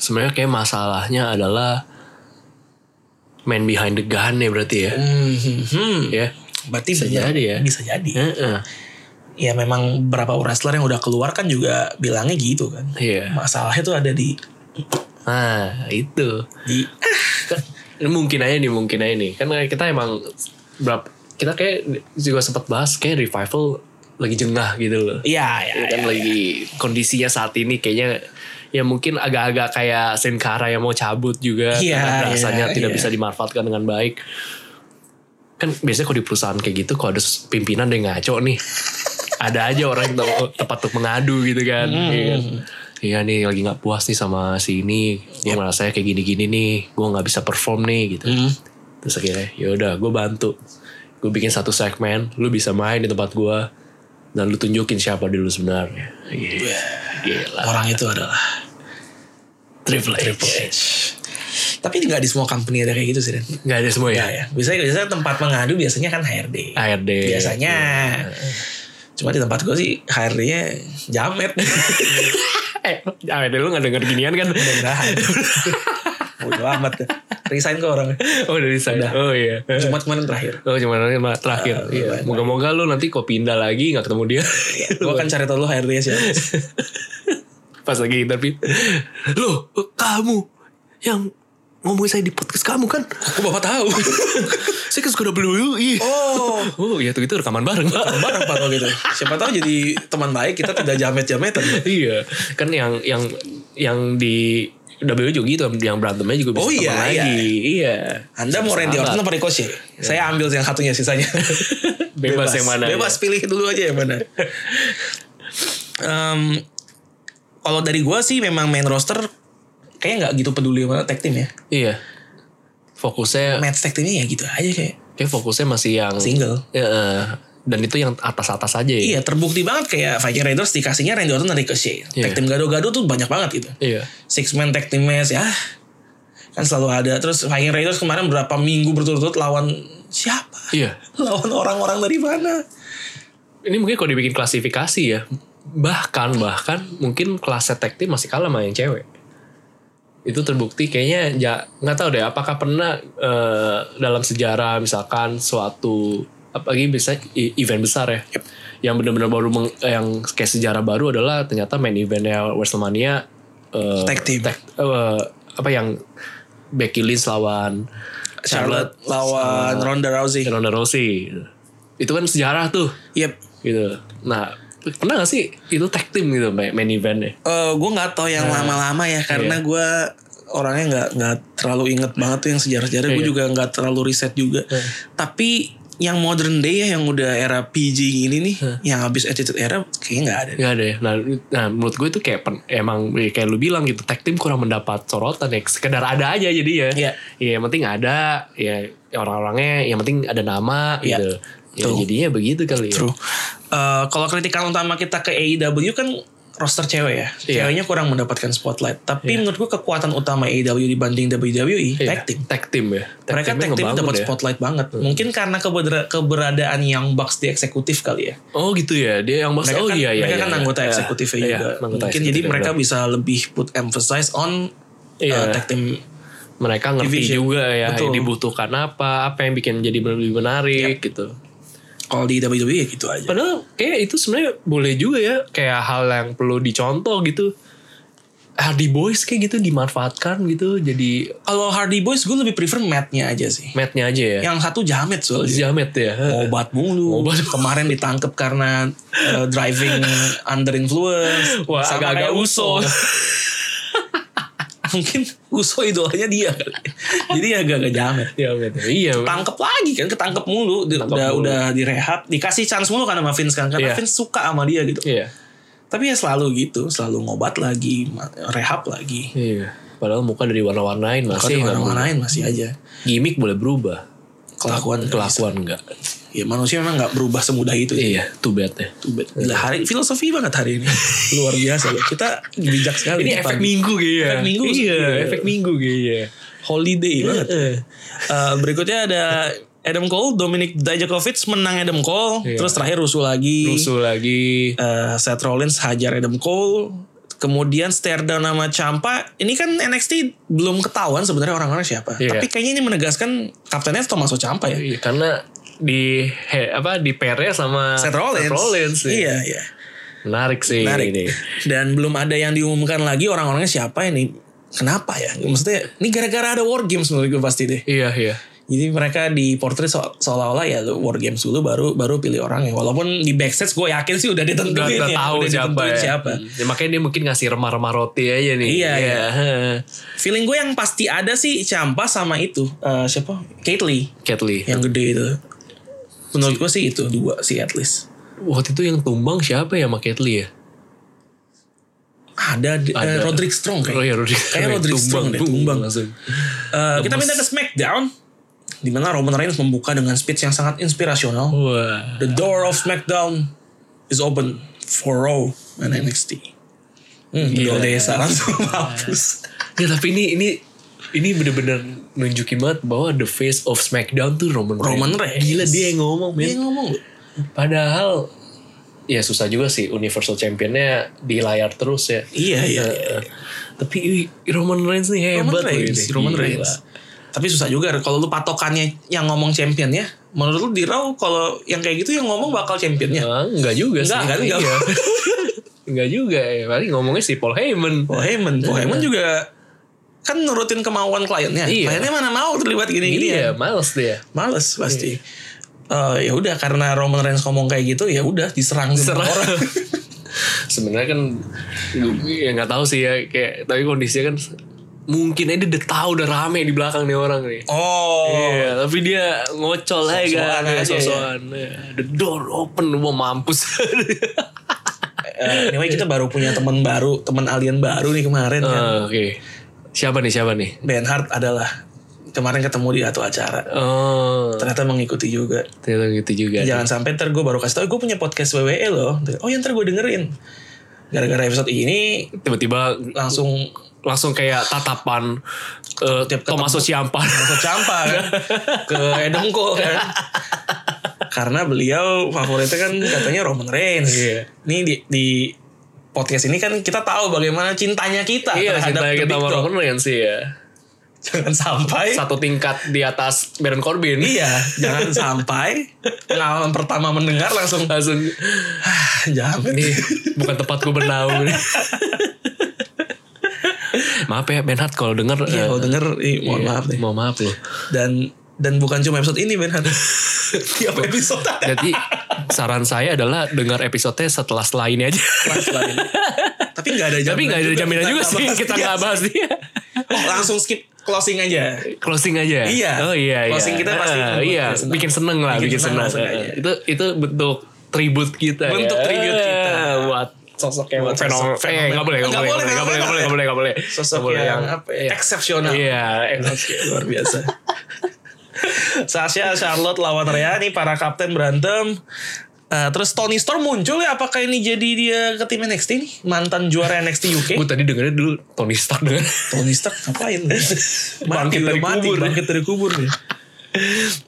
Sebenarnya kayak masalahnya adalah man behind the gun ya berarti ya.
Hmm, hmm.
Ya.
Berarti
Bisa jadi ya.
Bisa jadi.
Heeh.
Ya memang beberapa wrestler yang udah keluar kan juga bilangnya gitu kan.
Iya.
Masalahnya tuh ada di
Nah, itu.
di
Ini mungkin aja nih, mungkin aja nih. Kan kayak kita emang berapa kita kayak juga sempat bahas kayak revival lagi jengah gitu loh.
Iya, ya,
Ya
ya.
kan lagi kondisinya saat ini kayaknya ya mungkin agak-agak kayak Sin Cara yang mau cabut juga
Iya,
karena rasanya
iya,
tidak
iya.
bisa dimanfaatkan dengan baik. Kan biasanya kalau di perusahaan kayak gitu kalau ada pimpinan dia ngaco nih. ada aja orang yang tahu tepat untuk mengadu gitu kan.
Hmm.
Iya kan? Iya nih lagi nggak puas nih sama si ini.
Iya.
Gue merasa kayak gini-gini nih. Gue nggak bisa perform nih gitu.
Hmm,
Terus akhirnya yaudah gue bantu. Gue bikin satu segmen. Lu bisa main di tempat gue. Dan lu tunjukin siapa dulu sebenarnya. Iya. Gila.
Orang itu adalah
Triple H.
Triple H. Tapi nggak di semua company ada kayak gitu sih, Den.
Gak ada semua ya?
Ya, ya. Biasanya, biasanya tempat mengadu biasanya kan HRD.
ARD.
biasanya.
Iya.
Cuma di tempat gue sih HRD-nya jamet.
eh, ARD lu gak denger ginian kan?
Mudah-mudahan. Bodo amat. ya. Resign ke orangnya.
Oh dari sana. Oh iya.
Jumat kemarin terakhir.
Oh cuma nanti sama terakhir. Iya. Moga-moga lu nanti kok pindah lagi nggak ketemu dia
Gue akan cari tau lu HRD-nya siapa.
pas lagi interview. Loh kamu yang ngomongin saya di podcast kamu kan?
Aku bapak tahu.
Saya kan suka WWE.
Oh.
Oh iya tuh itu rekaman bareng pak.
Barang pak kalau gitu. Siapa tahu jadi teman baik kita tidak jamet-jametan.
iya kan yang yang yang di WWE juga gitu yang berantemnya juga bisa
Oh iya,
teman
iya.
lagi. Iya.
Anda mau Randy Orton
Sahabat.
apa Ricochet? Saya ambil yang satunya sisanya.
Bebas yang mana,
Iya. Bebas ya? pilih dulu aja yang mana. Em, kalau dari gua sih memang main roster kayaknya nggak gitu peduli sama tag team ya.
Iya. Fokusnya
Match tag teamnya ya gitu aja kayak
kayak fokusnya masih yang
single.
Ya, eh, dan itu yang atas-atas aja ya.
Iya terbukti banget kayak Viking Raiders dikasihnya Randy Orton dan Ricochet. Tag
Iya.
team gado-gado tuh banyak banget gitu.
Iya.
Six man tag team match ya kan selalu ada. Terus Viking Raiders kemarin berapa minggu berturut-turut lawan siapa?
Iya.
Lawan orang-orang dari mana?
Ini mungkin kalau dibikin klasifikasi ya. Bahkan bahkan mungkin kelas tag team masih kalah sama yang cewek. Itu terbukti kayaknya ya nggak tahu deh apakah pernah eh, dalam sejarah misalkan suatu apalagi bisa i- event besar ya.
Yep.
Yang benar-benar baru meng- yang kayak sejarah baru adalah ternyata main eventnya WrestleMania eh,
Tag team.
tag- eh, apa yang Becky Lynch lawan
Charlotte lawan Ronda Rousey.
Ronda Rousey. Itu kan sejarah tuh
Yep.
gitu. Nah, pernah gak sih itu tag team gitu main main eventnya?
Eh gue nggak tahu
Nah,
yang lama-lama ya
iya.
karena gue orangnya nggak nggak terlalu inget banget tuh yang sejarah-sejarah. Gue
Iya.
juga nggak terlalu riset juga. Tapi yang modern day ya yang udah era PG gini nih,
Iya.
yang habis attitude era kayaknya nggak ada.
Gak ada ya. Nah, lu- nah, menurut gue itu kayak pen- emang eh, kayak lu bilang gitu tag team kurang mendapat sorotan ya. Sekedar ada aja jadi ya.
Iya.
yang penting ada ya orang-orangnya yang penting ada nama
Iya.
gitu. Ya,
True.
jadinya begitu kali ya.
True. Eh, Kalau kritikan utama kita ke AEW kan roster cewek ya,
Iya.
ceweknya kurang mendapatkan spotlight. Tapi menurut gue kekuatan utama AEW dibanding WWE
Iya,
tag team.
Tag team ya. Tag
Mereka
teamnya
tag team
ngebangun
dapat
ya.
spotlight banget. Mungkin karena kebedera- keberadaan yang Bucks di eksekutif kali ya.
Oh gitu ya. Dia yang maksud
mereka
oh
kan,
iya iya.
mereka
iya,
kan
iya.
anggota
Iya,
eksekutifnya
iya,
juga.
anggota
Mungkin jadi
eksekutifnya,
mereka
benar.
bisa lebih put emphasize on uh,
Iya.
tag team.
mereka ngerti
Division.
juga ya
Betul. Iya.
yang dibutuhkan apa, apa yang bikin jadi lebih menarik gitu.
Kalau di WWE ya gitu aja.
Padahal kayak itu sebenarnya boleh juga ya kayak hal yang perlu dicontoh gitu. Hardy Boys kayak gitu dimanfaatkan gitu jadi
Kalau Hardy Boys gue lebih prefer matnya aja sih.
matnya aja ya.
Yang satu jamet soalnya.
Jamet ya.
Obat mulu.
Obat.
Kemarin ditangkep karena uh, driving under influence.
Wah,
Sama
agak-agak
kayak
Uso.
Mungkin Uso idolanya dia kali. Jadi agak-agak jamet.
Jamet. ya. Iya.
Tangkep lagi kan ketangkep mulu Di-
Ketangkep
udah
mulu.
udah direhab dikasih chance mulu kan sama Vince kan karena
Iya.
Vince suka sama dia gitu
Iya.
Tapi ya selalu gitu, selalu ngobat lagi, ma- rehab lagi.
Iya. Padahal muka dari warna-warnain
Kalau
masih nggak
orang lain masih aja
mau. gimmick boleh berubah.
kelakuan.
Kelakuan enggak.
Ya manusia memang nggak berubah semudah itu. sih.
Iya. Iya, too bad ya.
Too bad. Gila, hari filosofi banget hari ini. Luar biasa loh. Kita bijak sekali.
Ini
di pagi.
efek minggu kayaknya.
Efek minggu.
Iya,
Iya.
efek minggu kayaknya. ya.
holiday
Iya.
banget.
Heeh.
Eh, berikutnya ada Adam Cole, Dominic Dijakovic menang Adam Cole,
Iya.
terus terakhir rusuh lagi.
Rusuh lagi.
Eh, Seth Rollins hajar Adam Cole. Kemudian stare down sama Champa. Ini kan NXT belum ketahuan sebenarnya orang-orang siapa.
Iya.
Tapi kayaknya ini menegaskan kaptennya Tommaso Champa ya.
Iya, karena di he, apa di PR sama
Seth Rollins.
iya.
Iya, iya.
Menarik sih
Menarik.
ini.
Dan belum ada yang diumumkan lagi orang-orangnya siapa ini. Kenapa ya? Maksudnya ini gara-gara ada war games menurut gue pasti deh.
Iya, iya.
Jadi mereka di portrait seolah-olah ya lu war games dulu baru baru pilih orangnya. Walaupun di backstage gue yakin sih udah ditentuin
Udah, udah
ya.
tahu
udah
siapa
ditentuin
ya.
siapa.
Hmm. Ya, makanya dia mungkin ngasih remah-remah roti aja nih.
Iya,
heeh.
Feeling gue yang pasti ada sih Champa sama itu eh, siapa? Kate Lee
Cat Lee.
yang gede itu. Menurut gue sih itu dua sih at least.
Waktu itu yang tumbang siapa ya sama Cat Lee ya?
Ada, di- eh,
Ada.
Roderick Strong
Oh iya,
kayaknya.
Roderick.
Kayaknya Roderick Strong deh, tumbang.
langsung.
Eh, kita pindah ke SmackDown di mana Roman Reigns membuka dengan speech yang sangat inspirasional.
Wah.
The door of SmackDown is open for Raw and NXT. Hmm,
Gila.
Gila. desa langsung hapus.
Ya, tapi ini ini ini bener-bener nunjukin banget bahwa the face of SmackDown tuh Roman Reigns.
Roman Reigns. Iya.
Gila dia yang ngomong, men.
Dia ngomong loh.
Padahal ya susah juga sih Universal Championnya di layar terus ya.
Iya iya. iya.
Eh, tapi ih, Roman Reigns nih hebat
Roman
loh
Reigns,
ini.
Roman
Gila.
Reigns. Tapi susah juga kalau lu patokannya yang ngomong champion ya. Menurut lu di Raw kalau yang kayak gitu yang ngomong bakal championnya.
Ah, enggak juga sih.
Enggak, kan? Enggak.
Iya. enggak juga ya. Paling ngomongnya si Paul Heyman.
Paul Heyman, Paul Heyman juga kan nurutin kemauan kliennya.
Iya.
Kliennya mana mau terlibat gini-gini ya.
iya, males dia.
Males pasti. Eh, ya udah karena Roman Reigns ngomong kayak gitu ya udah diserang semua orang.
Sebenarnya kan ya nggak tahu sih ya kayak tapi kondisinya kan mungkin aja dia udah tahu udah rame di belakang nih orang nih.
Oh.
Iya, tapi dia ngocol aja kan,
Sok-sokan aja,
sosokan. Iya. The door open, mau mampus.
Eh, anyway kita baru punya teman baru, teman alien baru nih kemarin kan.
Ah, Oke, siapa nih siapa nih?
Benhard adalah kemarin ketemu di satu acara.
Oh,
Ternyata mengikuti juga.
ternyata gitu juga.
Jangan sampai ntar gue baru kasih tau, gue punya podcast WWE loh. Oh ya ntar gue dengerin. Gara-gara episode ini
Tiba-tiba
langsung
langsung kayak tatapan eh
Tiap ketemu.
Tomaso Siampan.
ke Campa kan, ke Edongko kan. Karena beliau favoritnya kan katanya Roman Reigns.
Iya.
Ini di, di podcast ini kan kita tahu bagaimana cintanya kita
Iya,
terhadap
ceritanya
The
kita
Big
sama
Dog. Eh.
Roman Reigns sih ya.
Jangan sampai
Satu tingkat di atas Baron Corbin.
Iya, jangan sampai pengalaman pertama mendengar langsung
Langsung
"Ah, jamet.
ini bukan tempat gue bernaung. maaf ya Benhard kalau denger
Iya,
eh,
kalau denger, ih, mohon
iya,
maaf deh.
Mohon maaf loh.
Dan dan bukan cuma episode ini, Ben. Tiap episode ada
Jadi saran saya adalah dengar episode setelah setelah ini aja.
kelas lain. Tapi nggak ada jaminan.
Tapi nggak ada jaminan juga
nggak
sih
bahas
kita
dia.
nggak bahas dia.
Oh, langsung skip closing aja.
Closing aja.
Iya.
Oh iya. iya.
Closing kita pasti
Eh,
membuat
iya.
dia senang.
Bikin seneng lah.
Bikin
Bikin,
senang
seneng. Eh,
langsung aja.
itu itu bentuk tribut kita.
Bentuk
ya.
tribut kita.
Buat
Sosok yang
buat fenom- eh, nggak boleh nggak
Nggak
boleh nggak boleh nggak boleh nggak boleh nggak boleh Nggak
Sosok
boleh
yang, apa ya,
iya.
eksepsional.
Iya.
Oke, luar biasa. Sasha, Charlotte lawan Rhea nih para kapten berantem. Eh, terus Tony Storm muncul ya apakah ini jadi dia ke tim NXT nih? Mantan juara NXT UK.
Gue tadi dengernya dulu Tony Stark dengan
Tony Stark ngapain?
Bangkit dari kubur.
bangkit dari kubur nih.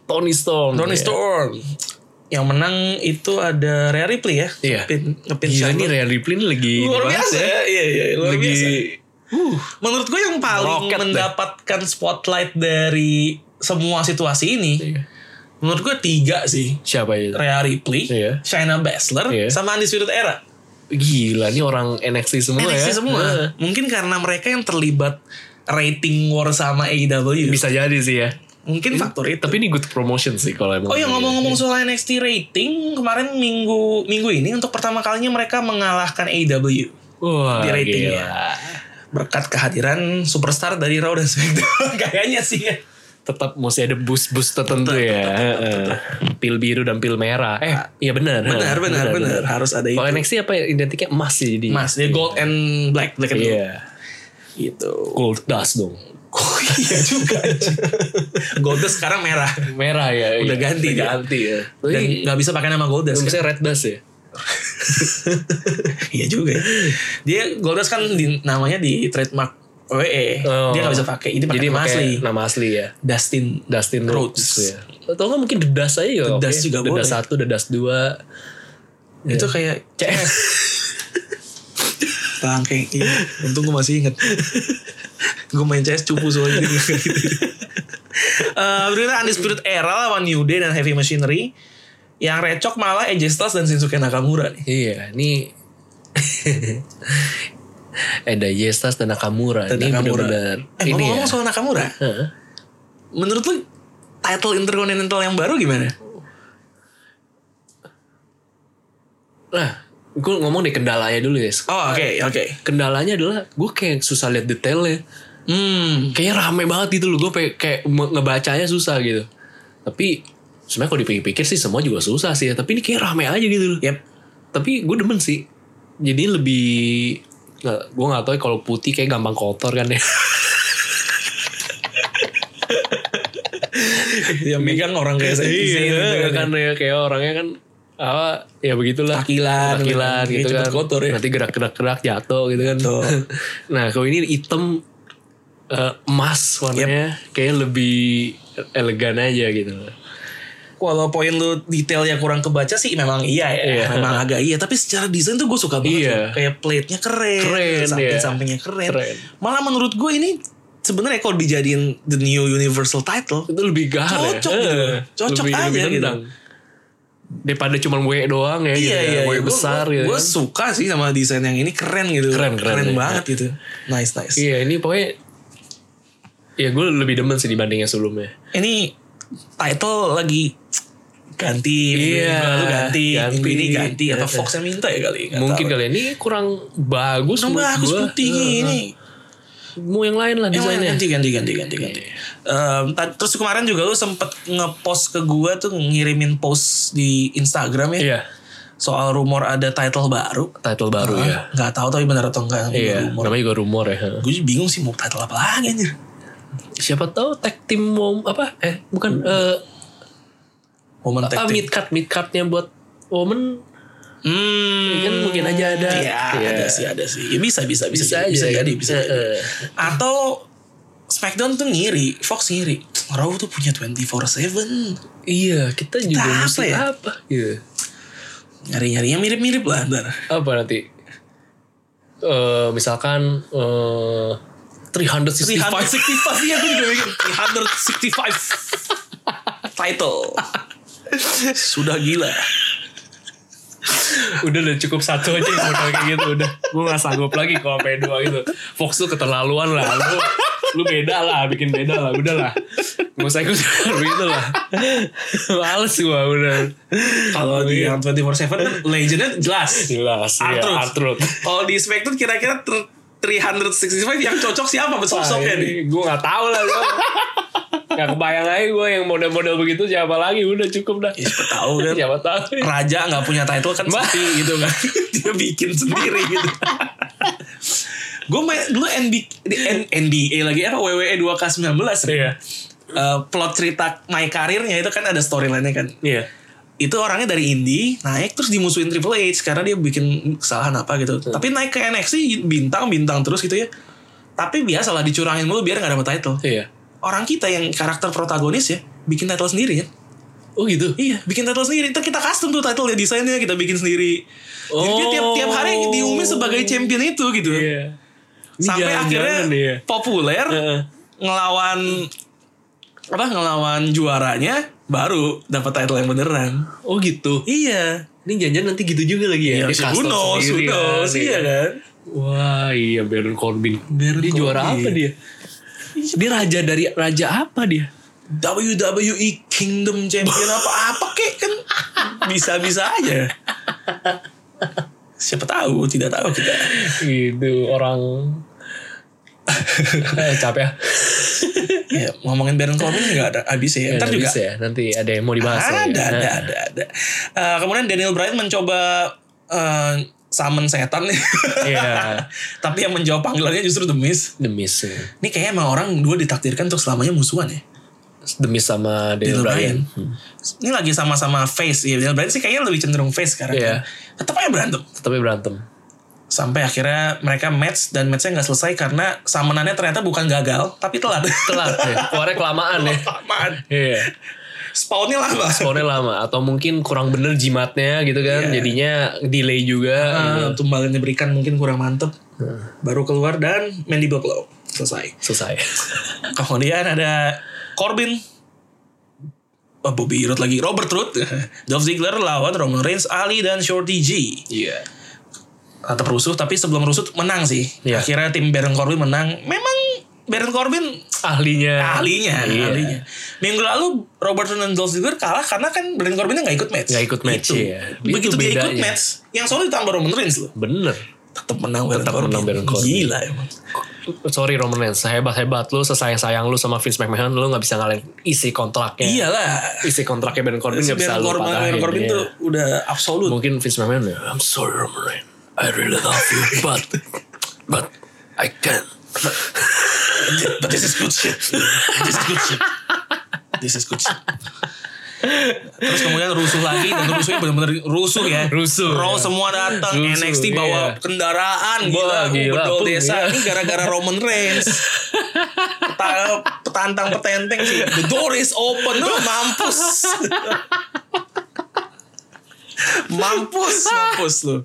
Tony Storm.
Tony
Iya.
Storm. Yang menang itu ada Rhea Ripley ya.
Iya.
Ngepin, ngepin
Gila nih
Charlotte.
Rhea Ripley ini lagi
Luar
dibangun
biasa. Uh.
ya.
Iya, iya, luar
Lagi
biasa. Menurut gue yang paling
Roket deh.
mendapatkan spotlight dari semua situasi ini,
Iya.
menurut gue tiga sih.
Siapa itu?
Rhea Ripley,
Iya.
Shayna Baszler,
Iya.
sama Undisputed Era.
Gila nih orang NXT semua ya.
NXT semua.
Heeh.
Mungkin karena mereka yang terlibat rating war sama AEW.
Bisa jadi sih ya.
Mungkin faktor itu.
Tapi ini good promotion sih kalau emang.
Oh ya
iya.
ngomong-ngomong soal NXT rating, kemarin minggu minggu ini untuk pertama kalinya mereka mengalahkan E AEW
Wah,
di rating
gila.
ya. berkat kehadiran superstar dari Raw dan SmackDown kayaknya sih ya.
Tetap mesti ada boost-boost tertentu ya. Heeh. Pil biru dan pil merah. Eh, iya benar.
Benar, benar, benar. Harus ada itu.
Kalau NXT apa ya? identiknya emas sih jadi.
Mas, dia gold and black, black and gold.
Iya.
Gitu.
Gold dust dong.
Oh, iya juga. anjing. Goldust sekarang merah.
Merah ya.
Udah
iya.
ganti
Udah
dia.
ganti ya.
Dan
Tapi
nggak bisa pakai nama Goldust. kan?
misalnya red dust ya.
Iya juga. Ya. Dia Goldust kan di, namanya di trademark WWE.
Oh.
Dia nggak bisa pakai. Ini pakai
Jadi
nama
pakai
asli.
Nama asli ya.
Dustin.
Dustin Rhodes,
Rhodes.
ya. Atau nggak mungkin Dedas aja ya.
Dedas juga boleh.
Dedas satu, Dedas dua.
Itu kayak
CS.
bangke. Iya. Untung gue masih inget. gue main CS cupu soalnya. Eh, berikutnya Undisputed Era lawan New Day dan Heavy Machinery. Yang recok malah AJ Styles dan Shinsuke Nakamura nih.
iya, ini ada Yestas dan Nakamura.
Dan
ini
Nakamura.
benar-benar
Eh
ini
ngomong-ngomong
ya.
soal Nakamura.
Heeh.
Menurut lu title Intercontinental yang baru gimana?
Nah, gue ngomong deh kendalanya dulu ya.
Oh oke oke.
Kendalanya adalah gue kayak susah lihat detailnya.
Hmm.
Kayaknya rame banget gitu loh. Gue kayak, kayak me- ngebacanya susah gitu. Tapi sebenarnya kalau dipikir-pikir sih semua juga susah sih ya. Tapi ini kayak rame aja gitu loh.
Yep.
tapi gue demen sih jadi lebih nggak gue nggak tahu ya kalau putih kayak gampang kotor kan ya
yang megang orang kayak gitu saya
iya kan ya kayak orangnya kan apa ya begitulah
Takilan,
takilan
gitu
gitu
kan.
kan
kotor ya.
nanti gerak gerak gerak jatuh gitu kan
Tuh.
nah kalau ini hitam eh, emas warnanya kayak lebih elegan aja gitu
Kalau poin lu detailnya kurang kebaca sih memang iya ya.
Iya.
Memang agak iya. Tapi secara desain tuh gue suka banget.
Iya.
loh. Kayak plate-nya keren. gitu,
Keren, iya.
Samping-sampingnya keren.
Keren.
Malah menurut gue ini sebenarnya kalau dijadiin the new universal title.
itu lebih gahar ya
Cocok gitu.
Eh,
Cocok aja gitu.
nendang. daripada cuman W doang ya
Iya
gitu ya,
iya.
W besar
gue,
gitu
Gue
kan.
suka sih sama desain yang ini keren gitu.
Keren, keren, iya.
banget gitu. Nice nice.
Iya ini pokoknya Ya gue lebih demen sih dibandingnya sebelumnya
ini title lagi ganti minggu
Iya,
ini lalu ganti,
ganti.
minggu ini ganti apa
Iya.
Fox yang minta ya kali nggak
Mungkin
tahu.
kali ini kurang bagus
Nambah
menurut
aku
gua.
putih
Heeh.
ini
mau yang lain lah
Eh,
desainnya.
ganti ganti ganti ganti ganti.
Iya.
Em, ta- terus kemarin juga lu sempet ngepost ke gua tuh ngirimin post di Instagram ya
Iya,
soal rumor ada title baru.
title baru ya.
Ah, Nggak tahu tapi benar atau enggak
Iya,
rumor.
namanya juga rumor ya.
Gue bingung sih mau title apa lagi anjir.
Siapa tahu tag team mau apa? Eh, bukan eh
Woman
ah,
Hmm. tag team.
mid card mid cardnya buat woman
Hmm,
Kan mungkin aja ada.
Iya,
Iya.
ada sih, ada sih. Ya, bisa, bisa, bisa,
bisa,
jadi, bisa
aja. kan?
jadi, bisa.
Eh,
jadi.
eh.
Atau Smackdown tuh ngiri, Fox ngiri. Raw tuh punya 24/7.
Iya, kita juga
apa
mesti
ya?
apa? Iya.
Nyari-nyarinya mirip-mirip lah ntar.
Apa nanti? Eh, misalkan eh 365
365 ya gue juga mikir 365 title. Sudah gila.
udah udah cukup satu aja yang modal kayak gitu udah gue gak sanggup lagi kalau sampai dua gitu Fox tuh keterlaluan lah lu, lu beda lah bikin beda lah udah lah gak usah ikut itu lah males gue udah
Kalau di yang 24/7 kan legendnya jelas.
jelas ya
Artrud.
Artrud
Kalau di Smackdown kira-kira ter- 365 yang cocok siapa sosoknya nih?
gue gak tau lah gue gak kebayang aja gue yang model-model begitu siapa lagi udah cukup dah
Ya, siapa tahu kan.
siapa tahu
raja nggak punya title kan
Bah.
sepi gitu kan dia bikin sendiri gitu gue main dulu NB, di N- NBA lagi apa E WWE 2K19
iya
Eh, plot cerita my karirnya itu kan ada storyline-nya kan
iya
itu orangnya dari indie naik terus dimusuhin Triple H karena dia bikin kesalahan apa gitu tapi naik ke NXT bintang bintang terus gitu ya tapi biasalah dicurangin dulu biar nggak dapet title
iya
orang kita yang karakter protagonis ya bikin title sendiri kan
oh gitu
Iya, bikin title sendiri. Itu kita custom tuh title ya desainnya kita bikin sendiri. Jadi dia
Oh.
tiap tiap hari diumumin sebagai champion itu gitu.
iya Ini
Sampai akhirnya
jangan-jangan, iya.
populer
Heeh.
ngelawan apa ngelawan juaranya baru dapat title yang beneran.
oh gitu
Iya.
Ini janjian nanti gitu juga lagi ya?
Iya,
Dia
who
custom
knows, who
sendiri kan,
knows,
iya.
iya kan?
Wah iya Baron Corbin. dia
Corbin.
juara apa dia? Dia raja dari raja apa dia?
kan? WWE E Kingdom Champion apa-apa kek kan bisa-bisa aja. Siapa tahu, tidak tahu kita.
Gitu orang Eh, capek ya.
Ya, ngomongin Baron Corbin nggak ada habisnya ya. Ntar
Ntar
juga
ya. Nanti ada yang mau dibahas.
ada,
lagi.
ada,
Nah,
ada, ada. Eh, kemudian Daniel Bryan mencoba eh, summon setan nih.
Iya.
Tapi yang menjawab panggilannya justru Demis.
Demis. ya.
Ini kayaknya emang orang dua ditakdirkan untuk selamanya musuhan ya.
Demis sama
Daniel
Daniel Bryan. Hmm.
Bryan. Ini lagi sama-sama face. Ya, Daniel Bryan sih kayaknya lebih cenderung face sekarang. kan.
Iya.
Tetap aja berantem.
Tapi berantem.
Sampai akhirnya mereka match dan matchnya nggak selesai karena summonannya ternyata bukan gagal tapi telat.
Telat ya. Keluarnya kelamaan ya.
Lamaan.
Iya.
Spawnnya lama.
Skornya lama atau mungkin kurang bener jimatnya gitu
Iya.
kan. Jadinya delay juga.
Ah, Tumbalan diberikan mungkin kurang mantep.
Nah.
Baru keluar dan Mandy Buffalo selesai.
Selesai.
Kemudian ada Corbin. Oh, Bobby Roode lagi. Robert Roode. Dolph Ziggler lawan Roman Reigns, Ali, dan Shorty G.
Iya.
Atau rusuh, tapi sebelum rusuh menang sih.
Iya.
Akhirnya tim Baron Corbin menang. Memang Baron Corbin
Ahlinya.
ahlinya.
Iya.
ahlinya. Minggu lalu Robert Roode dan Dolph Ziggler kalah karena kan Baron Corbinnya nggak ikut match.
Nggak ikut match,
Itu.
iya.
Begitu
Itu
dia ikut
bedanya.
match, yang solo ditambah Roman Reigns loh.
Bener.
Tetap menang Baron,
Tetap
Corbin.
menang Baron Corbin.
Gila emang.
Sorry Roman Reigns, hebat-hebat lu, sesayang-sayang lu sama Vince McMahon, lu gak bisa ngalahin isi kontraknya.
Iyalah.
Isi kontraknya Baron Iya. Corbin gak bisa
Baron
lu
Iya. Corbin,
patahin.
Baron Corbin
iya.
tuh udah absolut.
Mungkin Vince McMahon, ya, I'm sorry Roman Reigns, I really love you, but, but I can't.
But this is good shit. This is good shit. This is good shit. Terus kemudian rusuh lagi dan rusuhnya benar-benar rusuh ya.
Rusuh,
Raw
ya.
semua datang,
Rusuh,
NXT bawa
iya.
kendaraan
Wah,
gila,
gila,
bedol
pun,
desa
iya.
ini gara-gara Roman Reigns. Peta- petantang petenteng sih. The door is open. Lu mampus. mampus, mampus lu.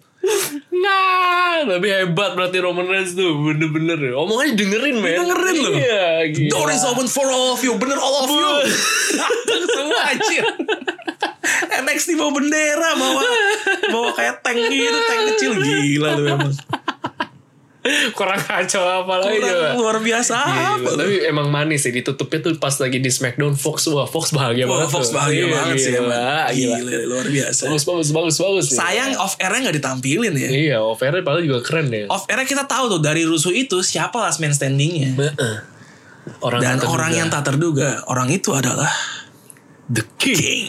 Nah, tapi hebat berarti Roman Reigns tuh, bener-bener. Omongannya dengerin, men.
Dengerin lu.
Iya, gila.
Door is open for all of you. Bener all of you. Datang semua anjir. NXT bawa bendera, bawa bawa kayak tank gitu, tank kecil gila lu emang.
kurang kacau apa lagi coba
Kurang luar biasa apa
Gila,
tuh?
tapi emang manis sih ditutupnya tuh pas lagi di Smackdown Fox wah Fox bahagia
Wah,
banget
Fox
tuh.
bahagia
Iya,
banget sih
gila,
emang.
gila.
Gila, luar biasa.
bagus bagus bagus bagus sih.
Sayang off airnya nggak ditampilin ya.
iya offernya padahal juga keren ya
Off airnya kita tahu tuh dari rusuh itu siapa last man standingnya.
Heeh. orang
Dan
terduga.
orang yang tak terduga, orang itu adalah
the king
King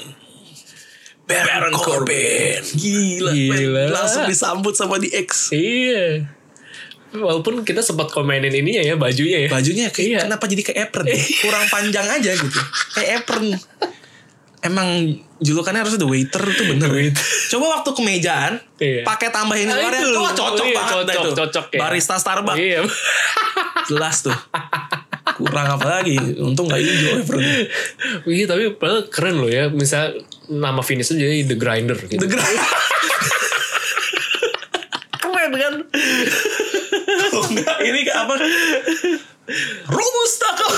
Baron, Corbin. Gila,
Gila.
men. langsung disambut sama di X.
iya walaupun kita sempat komenin ininya ya bajunya ya
Bajunya kayak
Iya.
kenapa jadi kayak apron? ya? Kurang panjang aja gitu. Kayak apron. Emang julukannya harusnya the waiter tuh bener. ya. Coba waktu kemejaan
Iya.
pakai tambahin
Nah,
luarnya
itu.
tuh wah, cocok
Iya,
banget dah
cocok,
itu.
cocok ya.
Barista Starbucks
iya
jelas tuh. Kurang apa lagi? Untung nggak hijau ya, apron.
Wih, Iya, tapi padahal keren loh ya. Misal nama finishnya jadi The Grinder gitu.
The Grand.
keren kan?
Kalau Oh, nggak, ini kayak apa? Robusta kalau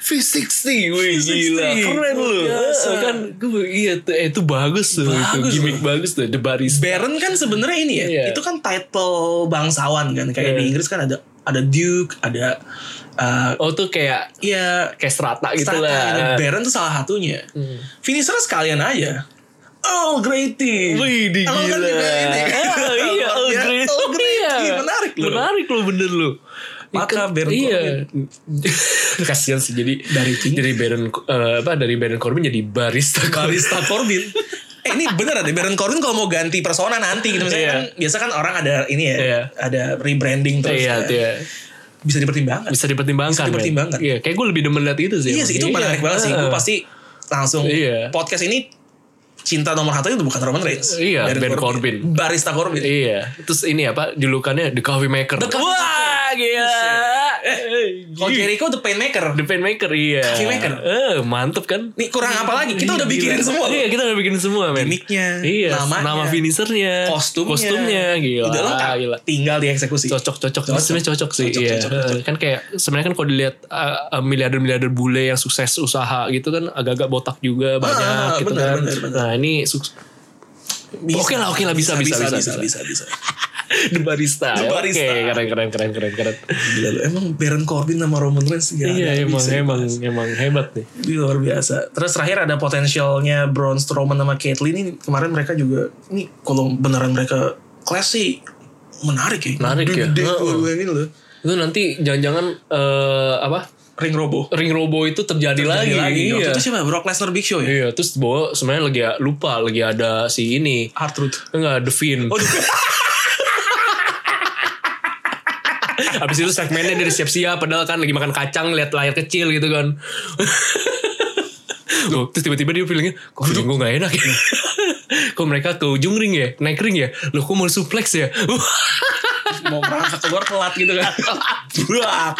V60, wih gila.
360.
Keren loh.
Biasa.
Kan gue iya tuh, eh, itu bagus tuh.
Ah. Bagus
itu. Gimmick bagus tuh. The Barista.
Baron kan sebenarnya ini ya,
Iya.
itu kan title bangsawan kan. Kayak
Iya.
di Inggris kan ada ada duke, ada eh,
Oh tuh kayak
ya
kayak strata gitu
strata, ada
lah.
Baron tuh salah satunya.
Hmm.
Finisher sekalian aja. Oh, great team.
Wih, di
Kalau
gila.
kan juga ini.
Ah, iya,
Luar
oh,
biasa.
great.
Oh, great.
Iya.
Ih, menarik loh.
Menarik loh, bener loh.
Maka Baron
iya. Kasian sih jadi
Dari King.
dari Baron eh, apa dari Baron Corbin jadi barista Corbin.
Barista Corbin. eh ini beneran deh Baron Corbin kalau mau ganti persona nanti gitu misalnya
Iya.
kan biasa kan orang ada ini ya,
Iya.
ada rebranding terus.
Iya,
kan.
iya.
Bisa dipertimbangkan.
bisa dipertimbangkan.
Bisa dipertimbangkan.
men. Iya, kayak gue lebih demen liat itu sih.
Iya sih itu menarik banget sih. Gue pasti langsung
Iya.
podcast ini cinta nomor satu itu bukan Roman Reigns.
Iya,
Baron
Ben Corbin.
Barista Corbin.
Iya, terus ini apa julukannya The Coffee Maker.
The Coffee Eh,
Wah, gila.
Kalau
Gila.
Jericho the Painmaker.
The Pain Maker, iya.
eh, Coffee Maker.
Eh, mantep kan?
Nih kurang apa lagi? Kita
Iya,
udah bikinin
gila.
semua.
Iya, kita udah bikin semua, men.
Gimmicknya,
Iya,
namanya,
nama finishernya,
Kostumnya.
kostumnya, gila.
Udah lengkap.
Gila.
Tinggal dieksekusi.
cocok cocok
Cocok.
sebenarnya cocok sih
Cocok,
iya.
cocok, cocok.
kan kayak sebenarnya kan kalau dilihat uh, uh, miliarder miliarder bule yang sukses usaha gitu kan agak-agak botak juga banyak
ah,
gitu
benar,
kan
benar, benar.
nah ini sukses
Bisa.
Oke lah, oke lah, bisa, bisa, bisa,
bisa, bisa, bisa.
The barista.
The barista.
Nah, ya, Oke, keren keren keren keren keren.
Gila lu, emang Baron Corbin sama Roman Reigns gak
Iya
ada yang
emang
bisa.
emang emang hebat nih.
Ini luar biasa. Terus terakhir ada potensialnya Braun Strowman sama Caitlyn ini kemarin mereka juga ini kalau beneran mereka kelas sih menarik ya.
Menarik ya.
Gede
Heeh.
dua-duanya loh.
Itu nanti jangan-jangan eh, apa?
Ring Robo.
Ring robo itu terjadi, lagi.
Waktu
Iya.
itu siapa? Brock Lesnar Big Show ya?
Iya, terus bawa sebenarnya lagi lupa lagi ada si ini. Kan
Hard Truth.
Enggak, The Fiend.
Oh, The- iya.
Abis itu segmennya dari siap-siap padahal kan lagi makan kacang lihat layar kecil gitu kan. Loh, terus tiba-tiba dia bilangnya kok feeling gue gak enak ya kok mereka ke ujung ring ya naik ring ya loh kok mau suplex ya
mau merangkak keluar telat gitu kan. Brak.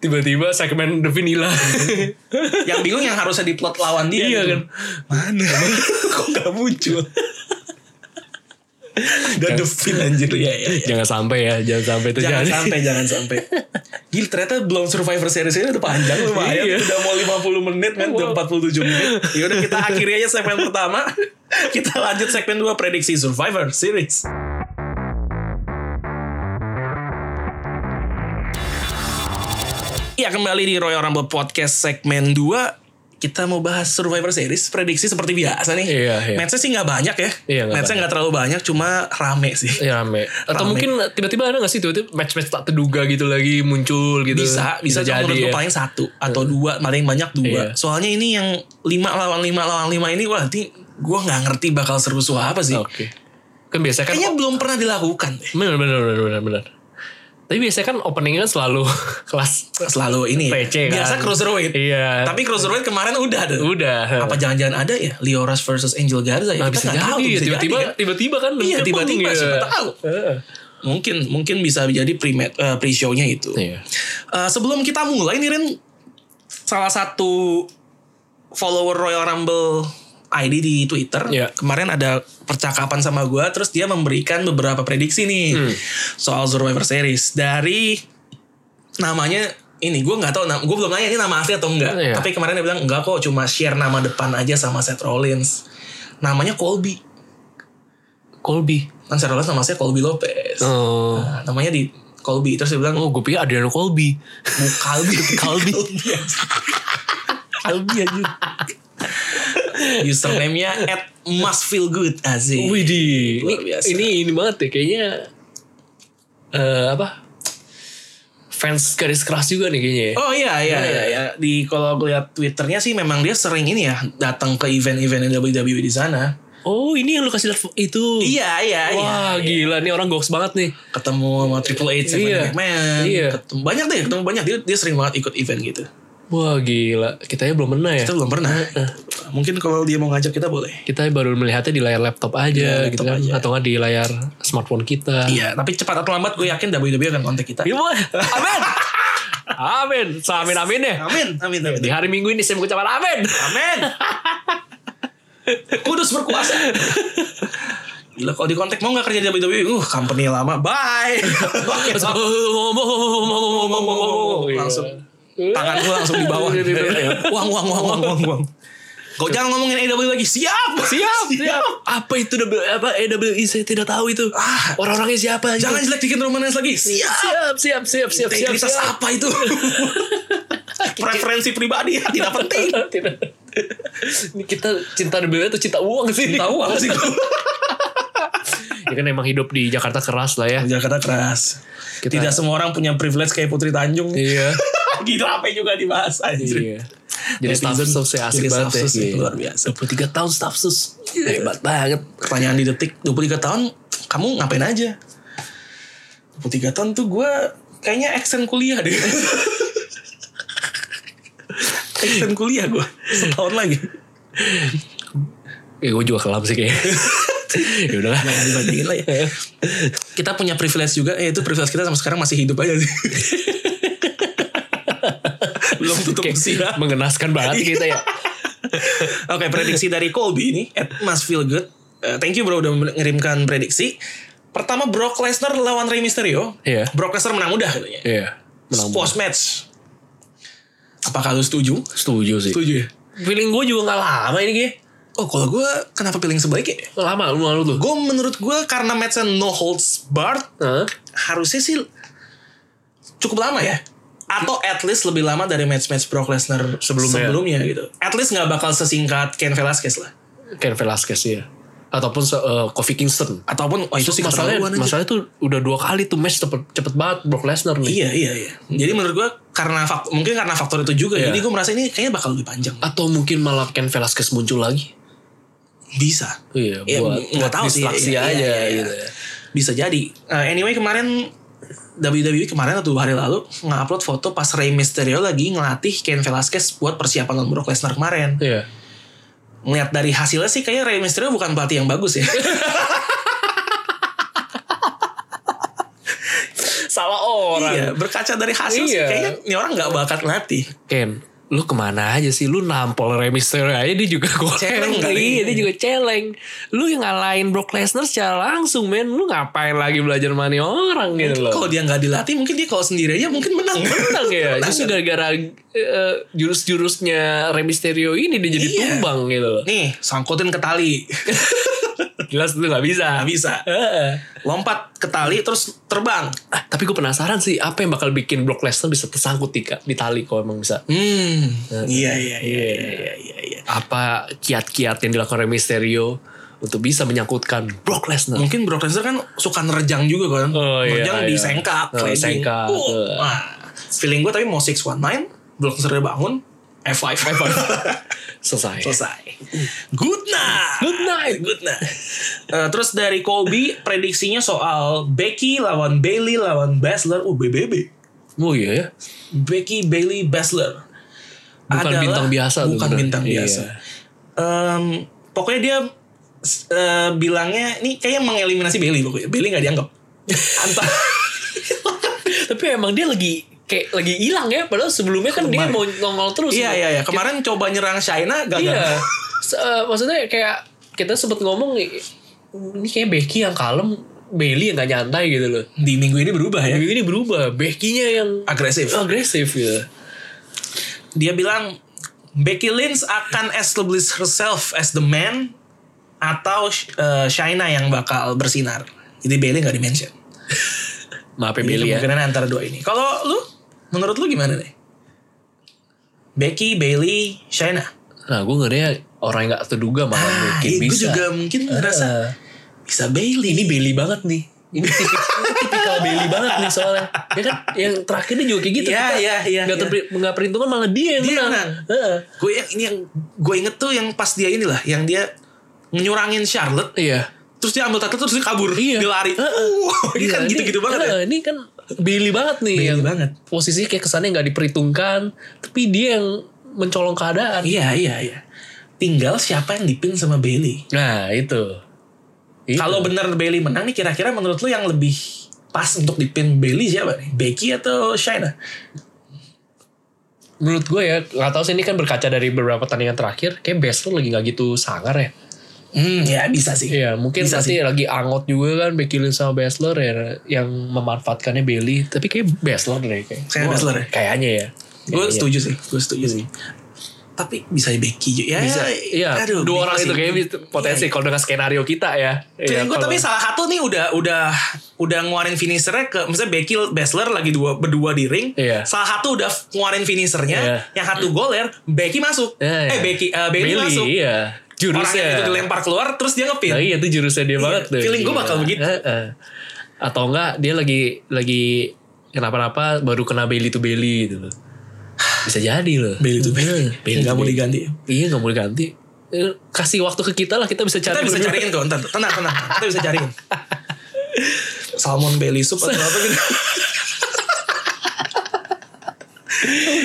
tiba-tiba segmen Devin hilang
yang bingung yang harusnya diplot lawan dia.
Iya
gitu.
kan.
Mana? Kok gak muncul? Dan The Fiend anjir ya ya. ya.
jangan sampai ya jangan sampai
Jangan
terjadi
sampai, jangan sampai. Gila ternyata belum Survivor Series ini udah panjang lumayan.
Iya.
Udah mau 50 menit kan, udah 47 menit. Ya udah kita akhiri aja segmen pertama. Kita lanjut segmen 2 prediksi Survivor Series. Ya kembali di Royal Rumble Podcast segmen 2 kita mau bahas Survivor Series prediksi seperti biasa nih.
Iya, iya.
Matchnya sih nggak banyak ya.
Iya, nggak
Matchnya nggak terlalu banyak, cuma rame sih.
ya rame atau
Rame.
mungkin tiba-tiba ada gak sih tiba-tiba match-match tak terduga gitu lagi muncul gitu
bisa bisa, cuma menurut gue
jadi ya.
paling satu atau dua paling banyak dua
Iya.
soalnya ini yang lima lawan lima lawan lima ini wah nanti gue nggak ngerti bakal seru-seru apa sih
oke kan biasanya kan
kayaknya belum pernah dilakukan deh
bener bener bener bener bener tapi biasanya kan openingnya kan selalu kelas
selalu ini ya.
PC kan.
biasa cruiserweight
Iya.
tapi cruiserweight kemarin udah ada
udah.
apa jangan-jangan ada ya Lioras versus Angel Garza ya
Nah,
kita
bisa
nggak tahu tuh,
jadi ya,
bisa
tiba-tiba
jadi kan.
tiba-tiba kan
Iya,
dapet
tiba-tiba,
pung,
siapa tahu.
Heeh.
mungkin mungkin bisa jadi pre pre show-nya itu
Iya.
Eh, sebelum kita mulai nih Ren salah satu follower Royal Rumble ID di Twitter
Iya.
kemarin ada percakapan sama gua terus dia memberikan beberapa prediksi nih
Hmm.
soal Survivor Series dari namanya ini gua nggak tahu nam- gua belum nanya ini nama asli atau enggak
Iya.
tapi kemarin dia bilang enggak kok cuma share nama depan aja sama Seth Rollins namanya Colby
Colby.
kan Seth Rollins nama saya Colby Lopez
Oh,
Nah, namanya di Colby terus dia bilang
oh gue pikir Adriano Colby.
"Bu, Colby
Colby.
Colby aja username-nya at must feel good asik
Widih,
Luar
ini,
biasa.
ini ini banget ya kayaknya eh apa fans garis keras juga nih kayaknya. ya.
Oh iya iya iya, iya. di kalau gue lihat twitternya sih memang dia sering ini ya datang ke event-event yang WWE di sana.
Oh ini yang lu kasih lihat fo- itu.
Iya iya iya.
Hmm. Wah gila nih orang goks banget nih.
Ketemu sama Triple H sama
Iya.
Vince McMahon.
Iya.
Ketemu banyak deh, ketemu banyak dia dia sering banget ikut event gitu.
Wah gila kita ya belum pernah ya.
Kita belum pernah. Mungkin kalau dia mau ngajak kita boleh.
Kita baru melihatnya di layar laptop aja
Iya,
gitu
laptop
kan
aja.
atau nggak di layar smartphone kita.
Iya, tapi cepat atau lambat gue yakin WWE akan kontak kita.
Ah. Iya, Boy. Amin. amin. Amin amin ya.
Amin, amin, amin.
Di hari Minggu ini saya mengucapkan amin.
Amin. Kudus berkuasa. Gila kalau di kontak mau nggak kerja di WWE? Uh, company lama. Bye.
Terus, oh, oh, oh, oh, oh, oh, oh, oh, oh, oh, oh, oh.
langsung tangan gua langsung di bawah.
Gitu, gitu.
uang, uang, uang, uang, uang, uang. Kau jangan ngomongin AW lagi. Siap,
Iya. Siap, siap. Apa itu W- apa AWI saya tidak tahu itu.
Ah.
Orang-orangnya siapa? anjing?
Jangan jelek bikin romanes lagi. Siap.
siap, siap, siap, siap, siap.
Integritas
siap.
apa itu? Preferensi pribadi ya, tidak penting.
Tidak. Ini kita cinta WWE atau cinta uang sih?
Tahu apa sih?
Ya kan emang hidup di Jakarta keras lah ya.
Jakarta keras.
Kita-
Tidak semua orang punya privilege kayak Putri Tanjung.
Iya.
Gitu apa juga dibahas anjir.
Iya. Jadi staff
Netizen
sus ya asik
jadi
banget
staff sus ya,
ya.
luar biasa. Iya.
23 tahun staff sus. Hebat banget.
Pertanyaan di detik 23 tahun kamu ngapain aja? 23 tahun tuh gue kayaknya action kuliah deh. action kuliah gue setahun lagi.
Ya gue juga kelam sih kayaknya. ya udahlah.
Jangan dibandingin lah ya. Kita punya privilege juga, eh, itu privilege kita sama sekarang masih hidup aja sih. Belum tutup Iya.
Kayak
usia.
Mengenaskan banget kita ya.
Oke, prediksi dari Colby ini at Mas Feel Good. Eh, thank you bro udah mengirimkan prediksi. Pertama Brock Lesnar lawan Rey Mysterio.
Iya.
Brock Lesnar menang mudah katanya.
Iya. Menang.
Squash match. Apakah lu setuju?
Setuju sih.
Setuju ya.
Feeling gue juga gak lama ini kayaknya.
Oh, kalau gue kenapa pilih yang sebaliknya?
Nggak Lama lu malu tuh.
Gue menurut gue karena matchnya no holds barred
Hah?
harusnya sih cukup lama ya. Atau at least lebih lama dari match-match Brock Lesnar sebelumnya.
Sebelumnya.
sebelumnya gitu. At least nggak bakal sesingkat Ken Velasquez lah.
Ken Velasquez ya. Ataupun eh, Kofi Kingston.
Ataupun oh itu sih
masalahnya,
keterlaluan aja.
masalahnya tuh udah dua kali tuh match cepet, cepet banget Brock Lesnar nih.
Iya iya iya. Jadi menurut gue karena fak- mungkin karena faktor itu juga.
Hmm. Iya.
Jadi gue merasa ini kayaknya bakal lebih panjang.
Atau mungkin malah Ken Velasquez muncul lagi.
Bisa.
Iya,
Ya,
buat,
nggak
buat
tahu sih,
distraksi
iya, iya,
aja
iya, iya.
gitu ya.
Bisa jadi. Eh, anyway kemarin WWE kemarin atau dua hari lalu nge-upload foto pas Rey Mysterio lagi ngelatih Ken Velasquez buat persiapan lawan Brock Lesnar kemarin.
Iya.
Ngeliat dari hasilnya sih kayaknya Rey Mysterio bukan pelatih yang bagus ya.
Salah orang.
iya, berkaca dari hasil sih
Iya.
kayaknya ini orang nggak bakat ngelatih.
Ken, lu kemana aja sih? Lu nampol Remister aja dia juga goreng.
Celeng kali.
Iya, dia juga celeng. Lu yang ngalahin Brock Lesnar secara langsung, men. Lu ngapain lagi belajar mani orang gitu loh.
Kalau dia nggak dilatih mungkin dia kalau sendiri aja mungkin menang.
Menang ya, justru gara-gara eh, jurus-jurusnya Remisterio ini dia jadi
Iya.
tumbang gitu loh.
Nih, sangkutin ke tali.
Jelas itu gak bisa.
Nggak bisa.
Heeh.
Lompat ke tali terus terbang.
Ah, tapi gue penasaran sih apa yang bakal bikin Brock Lesnar bisa tersangkut di, di tali kalau emang bisa.
Hmm, iya iya iya
Iya.
iya iya. iya.
Apa kiat-kiat yang dilakukan Rey Mysterio untuk bisa menyangkutkan Brock Lesnar?
Mungkin Brock Lesnar kan suka nerjang juga kan.
Oh, iya,
nerjang
iya.
disengkak,
Oh,
sliding.
sengkak,
Uh,
tuh.
wah. feeling gue tapi mau 619, Brock Lesnar udah bangun, F5.
Selesai.
Selesai. Good night.
Good night.
Good night. Eh, terus dari Colby prediksinya soal Becky lawan Bailey lawan Basler, uh BBB.
Oh iya ya.
Becky Bailey Basler.
Bukan bintang biasa tuh,
Bukan
bener.
bintang
Iya.
biasa. Em, pokoknya dia s- eh, bilangnya ini kayaknya mengeliminasi Bailey pokoknya. Bailey nggak dianggap. Antara
Tapi emang dia lagi kayak lagi hilang ya. Padahal sebelumnya kan dia
Kemarin.
mau nongol terus.
Iya iya iya. Kemarin coba nyerang Shaina gagal.
Iya. Se- eh, maksudnya kayak kita sempet ngomong ini kayak Becky yang kalem, Bailey yang gak nyantai gitu loh.
Di minggu ini berubah ya.
Minggu ini berubah, Becky-nya yang
Agresif.
agresif gitu.
Dia bilang Becky Lynch akan establish herself as the man atau eh, Shaina yang bakal bersinar. Jadi Bailey nggak dimention.
Maaf ya
Jadi
Bailey ya.
kemungkinan antara dua ini. Kalau lu, menurut lu gimana nih? Becky, Bailey, Shaina.
Nah gue ngerinya orang yang gak terduga malah mungkin
iya,
bisa.
Gue juga mungkin ngerasa
Eh,
bisa Bailey.
ini Bailey banget nih. Ini tipik- ini tipikal Bailey banget nih soalnya. Ya kan yang terakhirnya juga kayak gitu.
Iya, iya, iya,
Gak,
iya.
perhitungan malah dia yang
Dia
menang.
menang.
Heeh.
Gue yang ini yang gue inget tuh yang pas dia inilah, yang dia nyurangin Charlotte,
Iya.
terus dia ambil tackle terus dia kabur,
Iya.
dia lari. Wow, ini
Iya,
kan gitu-gitu banget ya.
heeh, Ini kan Bailey banget nih.
Bailey
yang
banget.
Posisinya kayak kesannya gak diperhitungkan. Tapi dia yang mencolong keadaan.
Iya, iya, iya. Tinggal siapa yang dipin sama Bailey.
Nah itu. Itu.
Kalau bener Bailey menang nih kira-kira menurut lu yang lebih pas untuk dipin Bailey siapa nih? Becky atau Shaina?
menurut gue ya nggak tahu sih ini kan berkaca dari beberapa pertandingan terakhir kayak Baszler lagi nggak gitu sangar ya
Hmm, ya bisa sih.
Iya mungkin
Bisa
pasti lagi angot juga kan Becky Lynch sama Baszler ya yang memanfaatkannya Bailey tapi kayak Baszler deh kayak
Kayak
Gua-
Baszler ya?
kayaknya ya
Gue
Kayaknya.
setuju sih, gue setuju sih. Tapi bisa Becky juga. Ya,
bisa iya
aduh,
dua
bingung
orang itu
sih.
kayaknya bisa- potensi kalau dengan skenario kita ya
Feeling gue
kalau-
tapi salah satu nih udah udah udah ngeluarin finishernya ke misalnya Becky Basler lagi dua berdua di ring.
Iya.
Salah satu udah ngeluarin finishernya,
Iya.
yang satu goler, Becky masuk.
Iya, iya.
Eh Becky eh, Bailey, masuk.
iya
Orang
jurusnya
yang itu dilempar keluar terus dia ngepin.
Nah, iya itu jurusnya dia banget tuh.
feeling gua
Gila.
bakal begitu.
Heeh. Atau enggak dia lagi lagi kenapa-napa baru kena belly to belly gitu loh. Bisa jadi loh.
Bailey tuh
Iya,
Bailey.
Bailey
Nggak
to
mau
Bailey.
diganti.
Iya nggak mau diganti. Eh, Kasih waktu ke kita lah kita bisa cari.
Kita bisa
berdua.
cariin kok, ntar tenang tenang. Kita bisa cariin. Salmon Bailey soup atau apa gitu.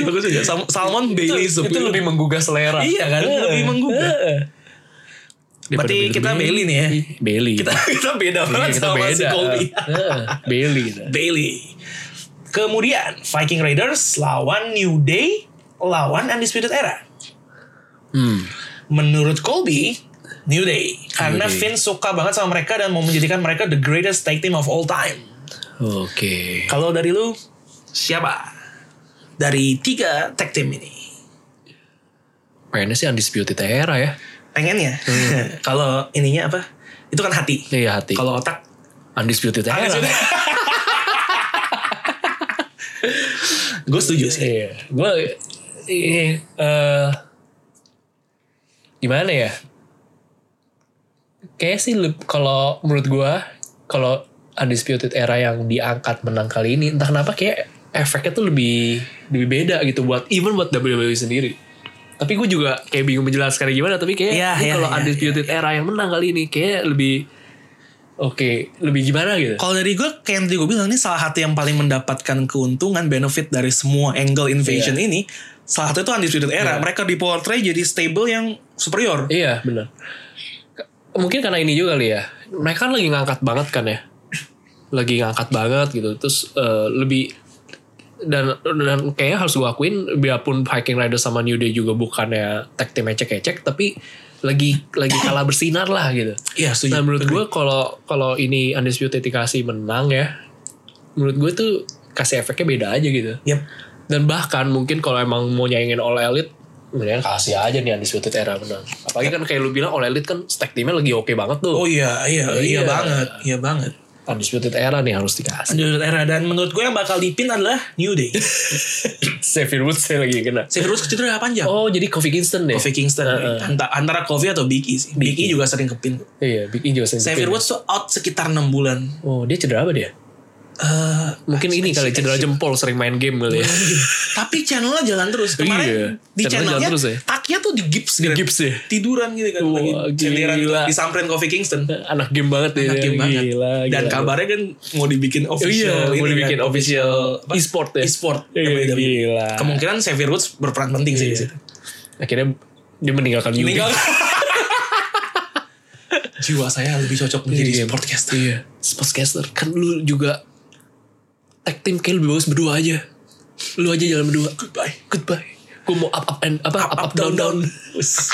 Bagus juga. Sal- Salmon Bailey
Itu,
soup.
itu lebih menggugah selera.
Iya kan,
Heeh.
lebih menggugah.
Heeh. Eh. Daripada
Berarti kita Bailey nih ya.
Bailey.
Kita Iya. kita beda banget
kita
sama si
beda.
Colby.
Heeh, Bailey. kita.
Bailey. Kemudian Viking Raiders lawan New Day lawan Undisputed Era.
Hmm.
Menurut Colby, New Day karena
Day.
Vince suka banget sama mereka dan mau menjadikan mereka the greatest tag team of all time.
Oke.
Iya. Kalau dari lu siapa? Dari tiga tag team ini.
Mainnya sih undisputed era ya.
Pengennya. Kalau ininya apa? Itu kan Hmm. hati. Iya
Iya hati.
Kalau otak
undisputed era.
Gue setuju sih.
Iya, gue ini eh gimana ya? Kayaknya sih leb- kalau menurut gue kalau undisputed era yang diangkat menang kali ini entah kenapa kayak efeknya tuh lebih lebih beda gitu buat even buat WWE sendiri. Tapi gue juga kayak bingung menjelaskannya gimana tapi kayak
Iya, iya,
kalau
iya,
undisputed era yang menang kali ini kayak lebih oke lebih gimana gitu.
Kalau dari gue, kayak yang tadi gue bilang ini salah satu yang paling mendapatkan keuntungan, benefit dari semua angle invasion ini. Salah satu itu undisputed era. Mereka diportray jadi stable yang superior.
Iya benar. K- Mungkin karena ini juga kali ya. Mereka lagi ngangkat banget kan ya. Lagi ngangkat banget gitu. Terus eh, lebih dan dan kayaknya harus gue akuin biarpun Viking Rider sama New Day juga bukannya tag team ecek-ecek tapi lagi lagi kalah bersinar lah gitu.
Iya,
Nah
setuju.
menurut gue kalau kalau ini undisputed dikasih menang ya, menurut gue tuh kasih efeknya beda aja gitu.
Yep.
Dan bahkan mungkin kalau emang mau nyaingin All Elite Mendingan kasih aja nih Undisputed Era menang Apalagi kan kayak lu bilang All Elite kan stack teamnya lagi oke banget tuh
Oh iya, iya, iya,
Iya.
banget, iya banget.
Undisputed Era nih harus dikasih
Undisputed era dan menurut gue yang bakal dipin adalah New Day.
Xavier Woods saya lagi kena
Severus cedera panjang.
Oh jadi Kofi Kingston deh
Kofi Kingston Anta- eh, antara Kofi atau Big E sih. Big E juga sering kepin.
Iya Big E juga sering
Xavier
kepin.
Woods tuh out sekitar 6 bulan.
Oh dia cedera apa dia?
Eh,
Mungkin ini kali cedera jempol sering main game kali ya
tapi channelnya jalan terus. Kemarin
Iya,
di
channelnya jalan
channelnya
terus ya.
taknya tuh di gips
Di
gitu.
gips ya
tiduran gitu kan
Wah,
lagi cenderan gitu,
gila.
disamperin Kofi Kingston
Anak game banget dia
Hakim banget
Gila,
dan
gila.
kabarnya kan mau dibikin
Oh
official
Iya
ini
mau dibikin
kan,
official e-sport ya
e-sport
Iya,
WWE. E.
Gila Iya.
kemungkinan Xavier Woods berperan penting sih di situ
Akhirnya dia meninggalkan New Day
meninggal jiwa saya lebih cocok menjadi
Iya, iya.
sportcaster
Iya, sportscaster. Kan lu juga tag team kayak lebih bagus berdua aja. Lu aja jalan berdua. Goodbye. Goodbye. Gue mau up up and apa up up, down down.
Wes.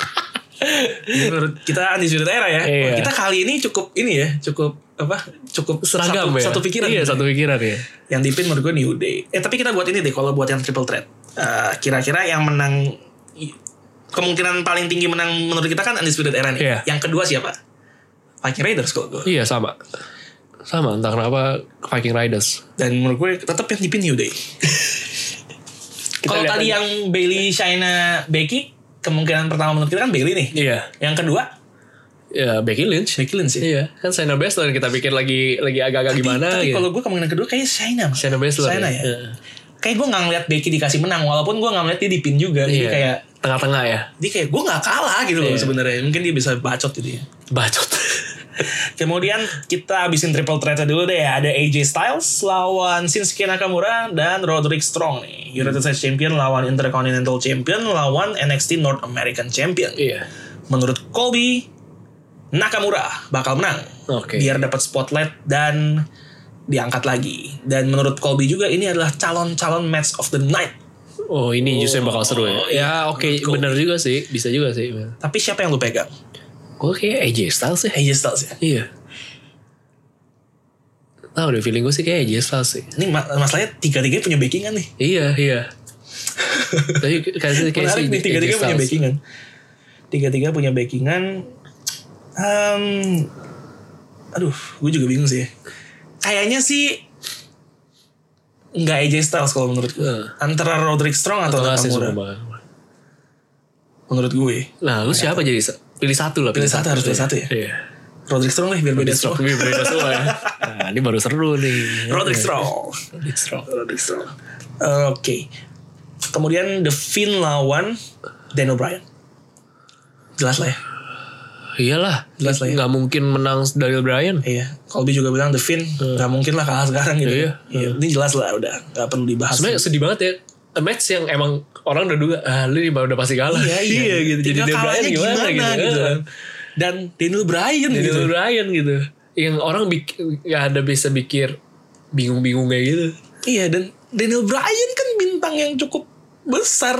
Ini menurut kita undisputed era ya
Iya.
kita kali ini cukup ini ya cukup apa cukup
Seragam
satu,
ya.
satu pikiran
Iya, satu pikiran ya.
Yang di pin menurut gue New Day. Eh tapi kita buat ini deh kalau buat yang triple threat. Eh, Kira-kira yang menang kemungkinan paling tinggi menang menurut kita kan Undisputed Era nih.
Iya.
Yang kedua siapa? Viking Raiders kalau gue.
Iya sama. Sama entah kenapa Viking Riders.
Dan menurut gue tetap yang nyipin New Day. kalau
lihat
tadi
aja.
yang Bailey, Shaina, Becky, kemungkinan pertama menurut kita kan Bailey nih.
Iya.
Yang kedua,
Ya Becky Lynch.
Becky Lynch ya.
Iya, kan Shayna Baszler kita pikir lagi lagi agak-agak gimana
Tapi
gitu.
kalau gue kemungkinan kedua kayaknya Shaina. Mas.
Shayna Baszler.
Shayna ya. Kayak gue gak ngeliat Becky dikasih menang. Walaupun gue gak ngeliat dia dipin juga. Jadi
Iya.
kayak
tengah-tengah ya.
dia kayak gue gak kalah gitu loh
Iya.
sebenarnya. Mungkin dia bisa bacot gitu ya.
Bacot.
Kemudian kita abisin triple threat dulu deh. ya. Ada AJ Styles lawan Shinsuke Nakamura dan Roderick Strong nih. United States Champion lawan Intercontinental Champion lawan NXT North American Champion.
iya.
Menurut Colby, Nakamura bakal menang.
Oke.
Biar dapat spotlight dan diangkat lagi. Dan menurut Colby juga ini adalah calon-calon match of the night.
Oh, ini justru yang bakal seru
Oh,
ya. ya,
iya.
oke, bener juga sih. Bisa juga sih.
Tapi siapa yang lu pegang?
Gue kayak AJ Styles sih.
AJ Styles ya.
Iya. Tahu deh feeling gue sih kayak AJ Styles sih.
Ini ma- masalahnya tiga-tiga punya backingan nih.
Iya, iya. Tapi kayak kayak
Menarik
sih
nih tiga-tiga
AJ
punya
Styles.
backingan. Tiga-tiga punya backingan. Em, aduh, gue juga bingung sih. ya. Kayaknya sih nggak AJ Styles kalau menurut gue.
Eh.
Antara Roderick Strong atau
Enggak sih
Nakamura.
sumpah.
Menurut gue,
Nah, lu siapa jadi? sa- Pilih satu lah.
Pilih satu, harus pilih satu ya?
Iya.
Roderick Strong deh biar beda semua.
Tapi beda semua ya. Nah, ini baru seru nih.
Roderick
Iya.
Strong.
Roderick Strong.
Roderick Strong. Eh, Oke. Kemudian The Finn lawan Dan O'Brien. Jelas lah ya.
Iyalah,
Jelas lah ya.
nggak mungkin menang dari Bryan.
Iya, Colby juga bilang The Finn nggak mungkin lah kalah sekarang gitu.
Hmm. Iya,
Iya, Ini jelas lah udah nggak perlu dibahas.
Sebenarnya sedih banget ya. A match yang emang orang udah duga, ah lu ini baru udah pasti kalah.
iya, iya,
gitu.
Tinggal
Jadi Daniel Bryan
kalahnya
gimana, gitu. kan.
Dan Daniel Bryan
Jadi
gitu.
Daniel Bryan gitu. Yang orang bik- nggak ada bisa pikir bingung-bingung kayak gitu.
Iya dan Daniel Bryan kan bintang yang cukup besar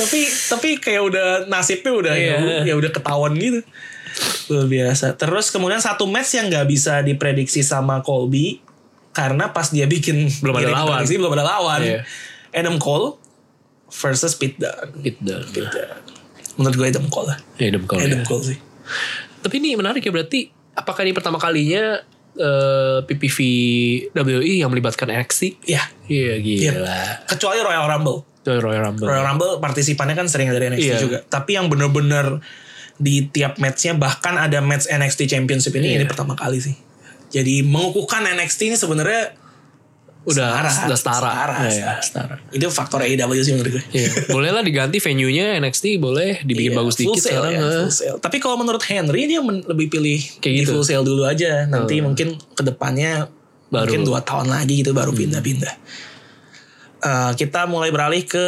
tapi tapi kayak udah nasibnya udah ya
Iya.
udah- ya udah ketahuan gitu luar biasa terus kemudian satu match yang nggak bisa diprediksi sama Colby karena pas dia bikin
Belum ada
bikin
lawan.
prediksi, belum ada lawan
Iya.
Adam Cole versus Pete Dunne
Pit Dunne.
Pete Dunne. menurut gue Adam Cole lah
Adam Cole.
Adam
Gitu ya.
Cole sih
Tapi ini menarik ya berarti apakah ini pertama kalinya eh, PPV WI yang melibatkan NXT?
ya
Iya
iya.
gila.
kecuali Royal Rumble
Itu Royal Rumble.
Royal Rumble partisipannya kan sering dari NXT
Iya.
juga. Tapi yang bener-bener di tiap matchnya bahkan ada match NXT Championship ini
Iya.
ini pertama kali sih. Jadi mengukuhkan NXT ini sebenarnya
udah
setara.
udah setara.
Setara,
Iya,
setara.
setara.
itu faktor AEW sih menurut gue.
Iya, boleh lah diganti venue-nya NXT boleh
Iya,
dibikin bagus
full
dikit
sale
sekarang.
ya,
eh.
full sale. Tapi kalau menurut Henry dia men- lebih pilih
Kayak
di
gitu. Oh.
full sale dulu aja. Nanti mungkin kedepannya
Baru. Hmm.
mungkin dua tahun lagi gitu baru pindah-pindah. Eh, kita mulai beralih ke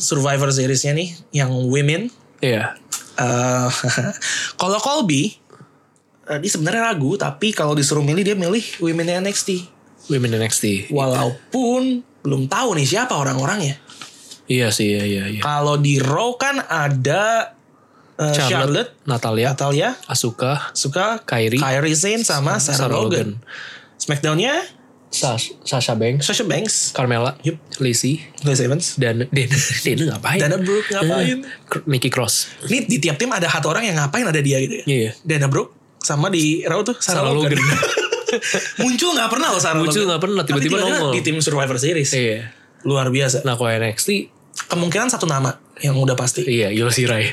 Survivor Series-nya nih yang women
Iya.
Eh, kalau Colby eh, dia sebenarnya ragu tapi kalau disuruh milih dia milih women NXT
Women NXT.
walaupun belum tahu nih siapa orang-orangnya
Iya sih, iya iya iya.
kalau di Raw kan ada eh, Charlotte,
Charlotte, Natalia,
Natalia
Asuka,
suka
Kairi,
Kyrie Sane sama Sarah,
Sarah
Logan.
Logan,
Smackdownnya
Sas- Sasha Banks,
Sasha Banks,
Carmela,
Yup.
Lacey,
Liz Evans,
dan Dana. Dana ngapain?
Dana Brooke ngapain?
Kr- Nikki Cross.
Ini di tiap tim ada satu orang yang ngapain ada dia gitu ya.
Iya.
Dana Brooke sama di Raw tuh Sarah,
Sarah
Logan.
Logan.
Muncul nggak pernah loh Sarah
Muncul
Logan.
nggak pernah,
Tapi
tiba-tiba
tiba-tiba
nongol.
Di tim Survivor Series.
Iya.
Luar biasa.
Nah, kalau NXT,
Kemungkinan satu nama yang udah pasti.
iya Yoshirai. Rai.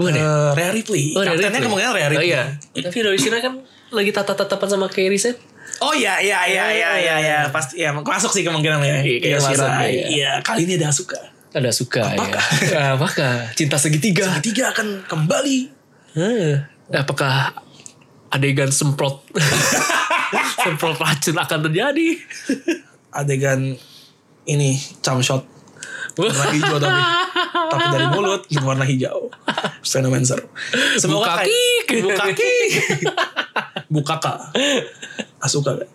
Bukan ya?
Eh, Rhea Ripley.
Oh, Rhea
Kaptennya
Ripley.
kemungkinan Rhea
Oh
Ripley.
iya. Tapi Yoshi Rai kan lagi tatap-tatapan sama Kairi Sen.
Oh iya iya iya iya iya iya. pasti ya masuk sih kemungkinan ya.
Iya, kayak
Yoshi
masuk,
Rai.
iya.
Iya, kali ini ada Asuka.
Ada suka
Apakah?
ya. Apakah? Cinta segitiga.
Ketiga akan kembali
Hah, Eh, apakah adegan semprot semprot racun akan terjadi?
adegan ini jump shot warna hijau tapi tapi dari mulut gitu, warna hijau fenomen seru
Buka
kayak-
kick.
buka kick buka kak asuka kan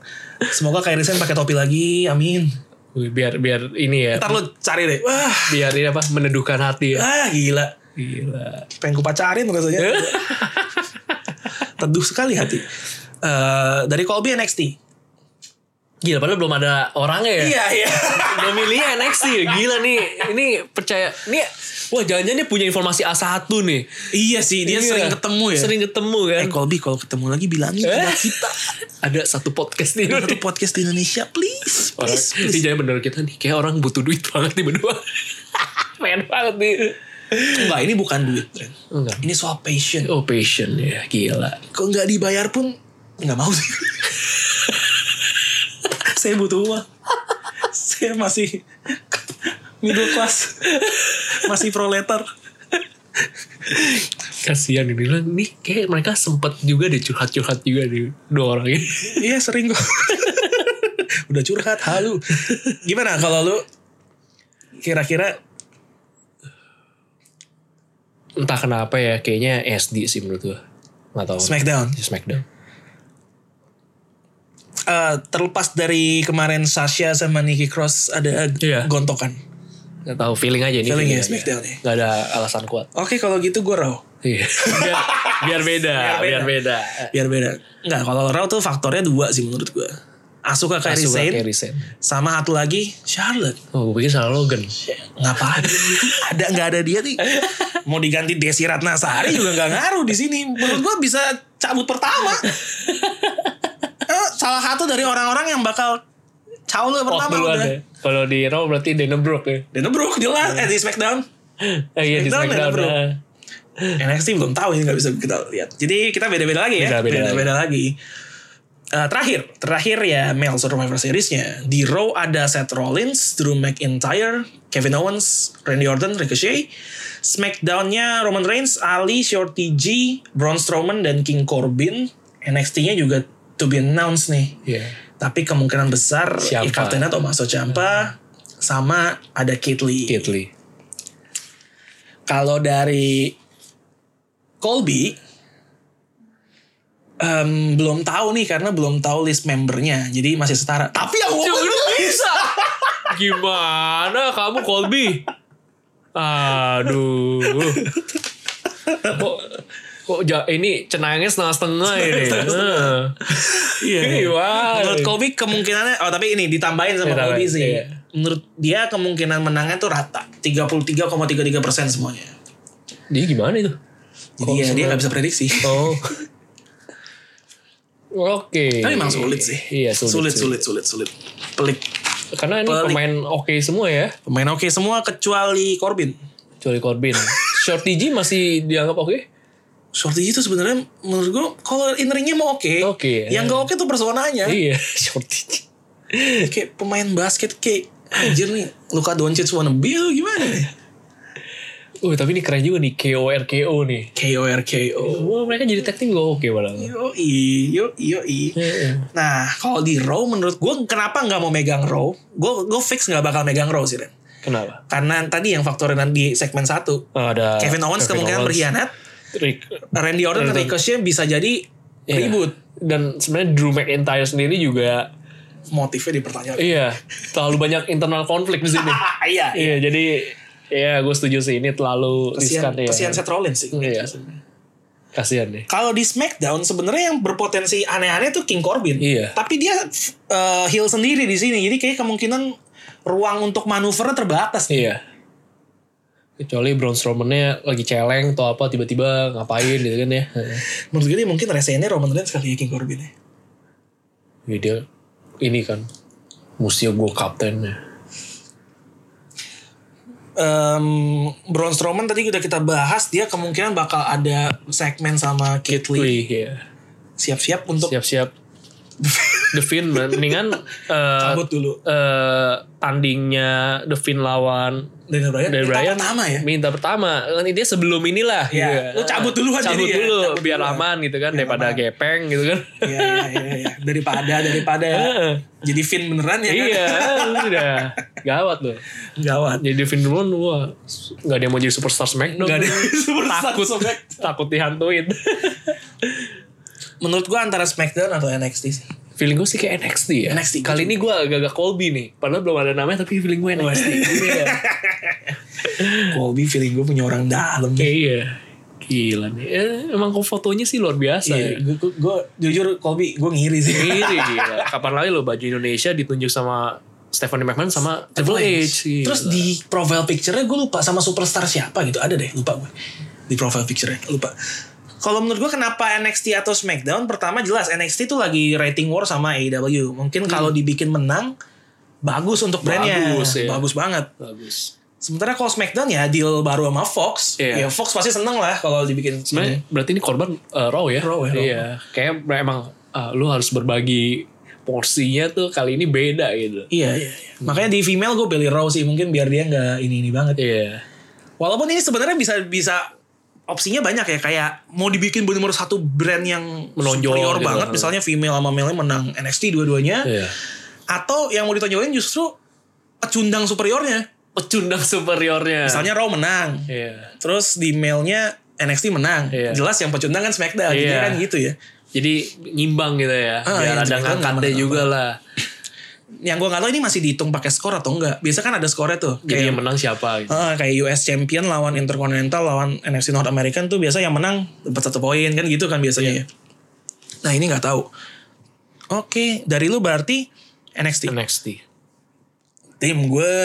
semoga kayak Sen pakai topi lagi amin
Wih, biar biar ini ya,
ntar lu cari deh wah
biar ini apa meneduhkan hati ya. Eh?
ah gila
Gila.
pengen ku pacarin rasanya Eh,
Eh.
teduh sekali hati Eh, dari Colby NXT
Gila padahal belum ada orangnya ya.
Iya iya.
Udah milihnya NXT gila nih. Ini percaya nih wah jangan-jangan dia punya informasi A1 nih.
iya sih dia
Iya.
sering ketemu ya.
Sering ketemu kan.
Eh Colby kalau ketemu lagi bilangin
Eh.
sama kita
ada satu podcast nih.
Ada satu podcast di Indonesia please
orang gitu.
please
ini jangan bener kita nih kayak orang butuh duit banget nih berdua. Pengen banget nih.
Enggak ini bukan duit Ren.
Enggak.
Ini soal passion
Oh passion ya gila.
Kok nggak dibayar pun nggak mau sih Saya butuh uang Saya masih Middle class Masih proletar
Kasihan ini bilang nih kayak mereka sempet juga deh curhat-curhat juga nih dua orang ini.
Iya sering kok Udah curhat halu Gimana kalau lu Kira-kira
Entah kenapa ya kayaknya SD sih menurut gua. Enggak tahu.
Smackdown
Smackdown.
Eh, Terlepas dari kemarin Sasha sama Nikki Cross Ada
Iya.
gontokan
Gak tahu feeling aja ini.
Feeling ya,
aja.
Smackdown ya.
Gak ada alasan kuat.
Oke kalau gitu gue raw
Iya. biar, biar beda, biar
Biar
beda.
Biar beda Enggak kalau raw tuh faktornya dua sih menurut gue Asuka Kairi
Asuka
Sane
Kairi Sane.
Sama satu lagi Charlotte
Oh, gue pikir salah Logan.
ngapain ada nggak ada dia nih mau diganti Desi Ratnasari juga nggak ngaruh di sini menurut gua bisa cabut pertama Eh, salah satu dari orang-orang yang bakal cawu
Oh,
pertama
duluan
udah
ya. Kalau di Raw berarti Dana Brooke ya.
Dan Brooke jelas eh, di Smackdown
Eh, iya di Smackdown, Smackdown.
Dana Brooke.
ah.
NXT belum tahu ini nggak bisa kita lihat jadi kita beda-beda lagi ya
Beda-beda lagi.
lagi Eh, terakhir terakhir ya Male Survivor Series-nya di Raw ada Seth Rollins, Drew McIntyre, Kevin Owens, Randy Orton, Ricochet. Smackdown-nya Roman Reigns, Ali, Shorty G, Braun Strowman dan King Corbin. NXT-nya juga to be announced nih.
Iya.
Tapi kemungkinan besar
Ciampa.
Ikatena Tommaso Ciampa sama ada Kate Lee.
Kate Lee.
Kalau dari Colby em, belum tahu nih karena belum tahu list membernya, jadi masih setara. Tapi yang
Ya,
woman
lu bisa. Gimana kamu Colby? Aduh. Kok kok ja- ini cenangnya setengah-setengah ini. Heeh.
Iya.
Gimana?
Menurut Colby kemungkinannya, oh tapi ini ditambahin sama
Ditambahin,
Colby sih.
iya.
Menurut dia kemungkinan menangnya tuh rata, 33,33 persen semuanya.
Dia gimana itu?
Jadi ya, dia nggak bisa prediksi.
Oh. Oke.
Tapi memang Kan sulit sih.
Iya
sulit,
sulit. sih.
sulit, sulit, sulit. Pelik.
Karena ini
Pelik.
pemain oke semua ya,
Pemain oke semua kecuali Corbin.
kecuali Corbin. Shorty G masih dianggap oke.
Shorty itu sebenarnya menurut gue kalau in ringnya mau oke,
Oke.
yang gak oke tuh personanya.
Iya, Shorty G.
kayak pemain basket kayak anjir nih Luka Doncic wannabe lu gimana ya? nih?
Uh, tapi ini keren juga nih KO RKO nih.
KO RKO.
Wah, mereka jadi tag team gak oke Iya, malah.
Yoi, yoi, yoi. Nah, kalau di Raw menurut gue kenapa nggak mau megang Raw? Gue gue fix nggak bakal megang Raw sih Ren.
Kenapa? Ah,
Karena tadi yang faktor di segmen 1
ada
Kevin Owens kemungkinan
Iya, Owens,
berkhianat,
Rick-
Randy Orton dan Ricochet bisa jadi
Iya.
ribut.
Dan sebenarnya Drew McIntyre sendiri juga
Motifnya dipertanyakan.
iya terlalu banyak internal konflik di sini.
Ah, iya.
iya, jadi ya gue setuju sih ini terlalu
Kesian,
riskan ya.
kesian Seth Rollins sih.
Iya. Kasihan deh.
Kalau di SmackDown sebenarnya yang berpotensi aneh-aneh tuh King Corbin.
Iya.
Tapi dia eh, heel sendiri di sini. Jadi kayak kemungkinan ruang untuk manuvernya terbatas nih.
Iya. Kecuali Braun Strowman-nya lagi celeng atau apa tiba-tiba ngapain gitu kan ya. Heeh.
Menurut gue dia mungkin resennya Roman Reigns kali ya King Corbin ya.
Ya dia ini kan mesti gue kaptennya.
Em, Braun Strowman tadi udah kita bahas dia kemungkinan bakal ada segmen sama Kate Lee.
Wih, iya.
Siap-siap untuk
Siap-siap. The Finn man. mendingan eh
cabut dulu
eh, tandingnya The Finn lawan
Daniel Bryan.
dari
Kita
Brian
pertama ya.
minta pertama kan ini sebelum inilah gitu ya.
Iya. Lu cabut duluan
cabut
jadi ya.
dulu
Cabut
biar
duluan.
aman gitu kan daripada
aman.
gepeng gitu kan
Iya, iya, iya, iya. Daripada, daripada. jadi Finn beneran ya kan?
iya udah gawat loh
Gawat.
jadi Finn Ruan wah nggak ada yang mau jadi superstar Smackdown
Gak ada
takut
Takut.
takut dihantuin
Menurut gua antara SmackDown atau NXT sih.
feeling gue sih kayak NXT ya
NXT.
kali ini gue agak-agak Colby nih padahal belum ada namanya tapi feeling gue NXT Gini ya.
Colby feeling gue punya orang dalam. gitu.
Kayak iya Gila nih. Eh, emang kok fotonya sih luar biasa ya.
Iya, gue, jujur Kobe gue ngiri sih.
Ini gila. Kapan lagi lo baju Indonesia ditunjuk sama Stephanie McMahon sama Triple H. gila.
Terus di profile picture-nya gue lupa sama superstar siapa gitu. Ada deh, lupa gue. Di profile picture-nya, lupa. Kalau menurut gue kenapa NXT atau SmackDown? Pertama jelas NXT itu lagi rating war sama AEW. Mungkin kalau dibikin menang, bagus untuk brandnya.
Bagus, ya.
bagus iya. banget. Iya.
bagus.
Sementara kalau SmackDown ya deal baru sama Fox. Ya
Iya.
Fox pasti seneng lah kalau dibikin.
Sebenarnya berarti ini korban eh, Raw ya?
Raw ya, Raw.
Iya. Kayak emang ah, lu harus berbagi porsinya tuh kali ini beda gitu.
Iya, iya, iya. Makanya di female gue pilih Raw sih. Mungkin biar dia nggak ini-ini banget.
Iya.
Walaupun ini sebenarnya bisa bisa opsinya banyak ya kayak mau dibikin benar-benar satu brand yang
Menonjol
superior
gitu.
banget misalnya female sama male menang NXT dua-duanya
Iya.
atau yang mau ditonjolin justru pecundang superiornya
Pecundang superiornya.
misalnya Raw menang
Iya.
terus di male-nya NXT menang
Iya.
jelas yang pecundang kan SmackDown jadi
Iya.
kan gitu ya
Jadi nyimbang gitu ya.
Ah,
biar
iya,
ada
Smackdown
ngangkatnya
nggak
juga lah.
yang gua nggak tahu ini masih dihitung pakai skor atau enggak biasa kan ada skornya tuh
Jadi
kayak
yang menang siapa gitu.
Ah, kayak US Champion lawan Intercontinental lawan NFC North American tuh biasa yang menang dapat satu poin kan gitu kan biasanya ya. Nah ini nggak tahu. Oke dari lu berarti NXT.
NXT.
Tim gue,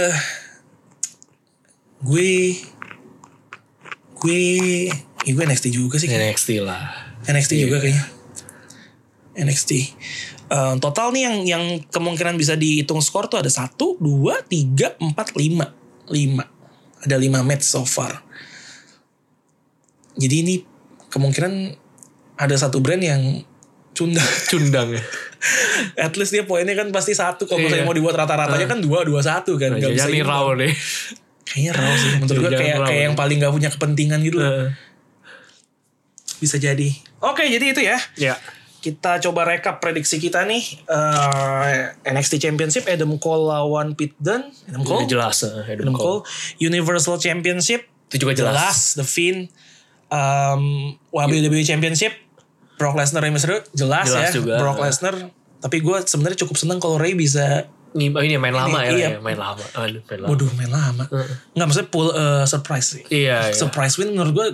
gue, gue, ya gue NXT juga sih. kayaknya.
NXT lah.
NXT juga kayaknya. NXT. Eh, total nih yang yang kemungkinan bisa dihitung skor tuh ada satu, dua, tiga, empat, lima, lima. Ada lima match so far. Jadi ini kemungkinan ada satu brand yang cunda.
Cundang ya.
At least dia poinnya kan pasti satu. Kalau
Iya. Nah,
misalnya mau dibuat rata-ratanya kan dua, dua, satu kan. Nggak bisa
Jadi
imbang.
Raw deh.
Kayaknya raw sih. Menurut gue
Jangan
kayak,
Iya, raw. Ah.
kayak yang paling gak punya kepentingan gitu. loh. Bisa jadi. Oke jadi itu ya.
Ya.
kita coba rekap prediksi kita nih Eh, NXT Championship Adam Cole lawan Pete Dunne Adam
Udah
Cole
jelas. eh, Adam
Adam Cole
Cole.
Universal Championship
Itu juga jelas.
The Fiend um, WWE Championship Brock Lesnar Rey Mysterio jelas, ya
Jelas juga.
Brock Lesnar tapi gue sebenarnya cukup seneng kalau Rey bisa
Ngim- oh, ini main lama ya,
iya.
ya, main lama. Aduh, main lama.
waduh main lama nggak maksudnya pull eh, surprise sih
Iya, iya.
surprise win menurut gue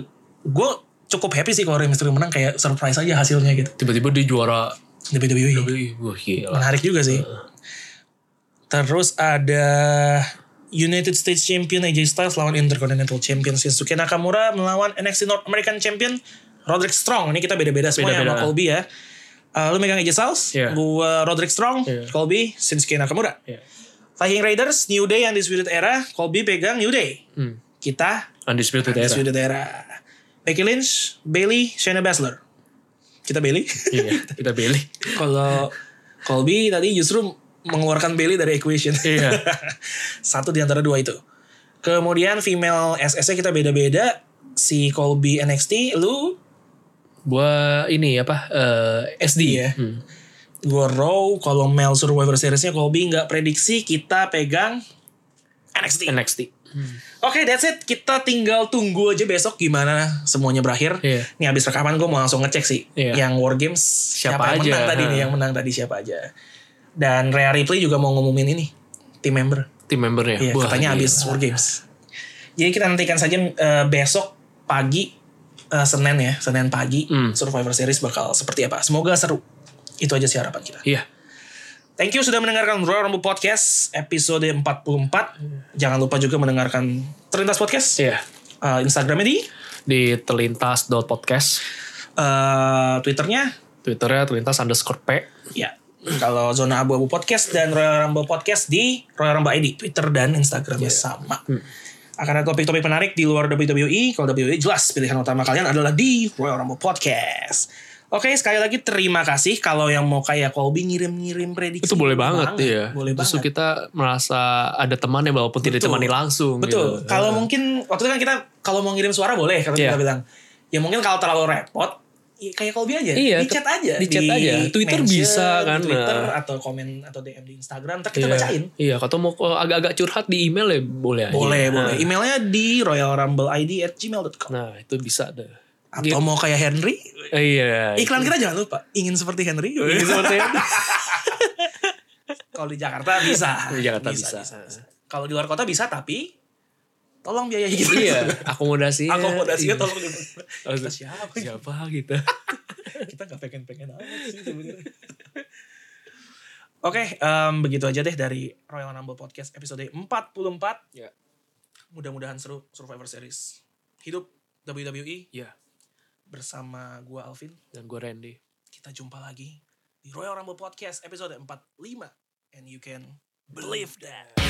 gue cukup happy sih kalau Rey Mysterio menang kayak surprise aja hasilnya gitu
Tiba-tiba dia juara.
WWE
Wah, gila.
menarik juga sih. Terus ada United States Champion AJ Styles lawan Intercontinental Champion Shinsuke Nakamura melawan NXT North American Champion Roderick Strong. Ini kita beda-beda semua ya sama
Beda-beda.
Colby ya. Eh, lu megang AJ Styles,
Iya.
gua Roderick Strong,
Iya.
Colby, Shinsuke Nakamura.
Iya.
Viking Raiders, New Day yang Disputed Era, Colby pegang New Day.
Hmm.
Kita
Undisputed ya. era.
Disputed Era. Becky Lynch, Bailey, Shayna Baszler. Kita Bailey.
Iya, kita pilih.
Kalau Colby tadi justru mengeluarkan Bailey dari equation.
Iya.
Satu di antara dua itu. Kemudian female SS-nya kita beda-beda. Si Colby NXT, lu
Gua ini apa? eh, SD
Iya. gua row. Kalau male Survivor Series-nya Colby nggak prediksi, kita pegang NXT. Oke,
NXT.
that's it. Kita tinggal tunggu aja besok gimana semuanya berakhir.
Iya.
Nih abis rekaman gue mau langsung ngecek sih
Iya.
yang War Games yang
Siapa aja,
menang tadi
ha.
nih, yang menang tadi siapa aja. Dan Rhea Ripley juga mau ngumumin ini tim member.
Tim membernya.
Iya,
Wah,
katanya
gila.
habis War Games. Jadi kita nantikan saja eh, besok pagi eh, Senin ya, Senin pagi
Hmm.
Survivor Series bakal seperti apa. Semoga seru. Itu aja sih harapan kita.
Iya.
Thank you sudah mendengarkan Royal Rumble Podcast episode 44. Jangan lupa juga mendengarkan Terlintas Podcast.
Iya.
Eh, Instagramnya di
Di terlintas.podcast.
eh, Twitternya
Twitternya terlintas underscore P.
ya. Kalau Zona Abu-Abu Podcast dan Royal Rumble Podcast di Royal Rumble ID, Twitter dan Instagramnya
Iya.
sama.
Hmm.
Akan ada topik-topik menarik di luar WWE. Kalau WWE jelas pilihan utama kalian adalah di Royal Rumble Podcast. Oke, sekali lagi terima kasih kalau yang mau kayak Colby ngirim-ngirim prediksi.
Itu boleh banget, iya.
Boleh
Justru
banget.
kita merasa ada temannya walaupun tidak
Betul.
ditemani langsung.
Betul.
gitu.
Kalau mungkin waktu itu kan kita kalau mau ngirim suara boleh kalau
Iya.
kita bilang. Ya mungkin kalau terlalu repot ya kayak Colby aja,
Iya,
di chat
ke-
aja,
di chat aja. Twitter bisa
di
kan,
Twitter
nah.
atau komen atau DM di Instagram, ntar kita
Iya.
bacain.
Iya, kalau mau eh, agak-agak curhat di email ya boleh aja.
Boleh,
Nah,
boleh. Emailnya di royalrumbleid@gmail.com.
Nah, itu bisa deh.
Atau mau kayak Henry?
Iya.
Iklan kita jangan lupa. Ingin seperti Henry?
Gitu seperti itu.
Kalau di Jakarta bisa.
Di Jakarta bisa.
bisa. Kalau di luar kota bisa tapi tolong biayai kita.
iya akomodasi
Akomodasinya tolong di Kita siapa?
siapa kita
Kita gak pengen-pengen amat sih sebenarnya. Oke, em, begitu aja deh dari Royal Rumble Podcast episode 44.
ya
Mudah-mudahan seru Survivor Series. Hidup WWE
ya
bersama gua Alvin.
dan gue Randy
Kita jumpa lagi di Royal Rumble Podcast episode 45. And you can believe that.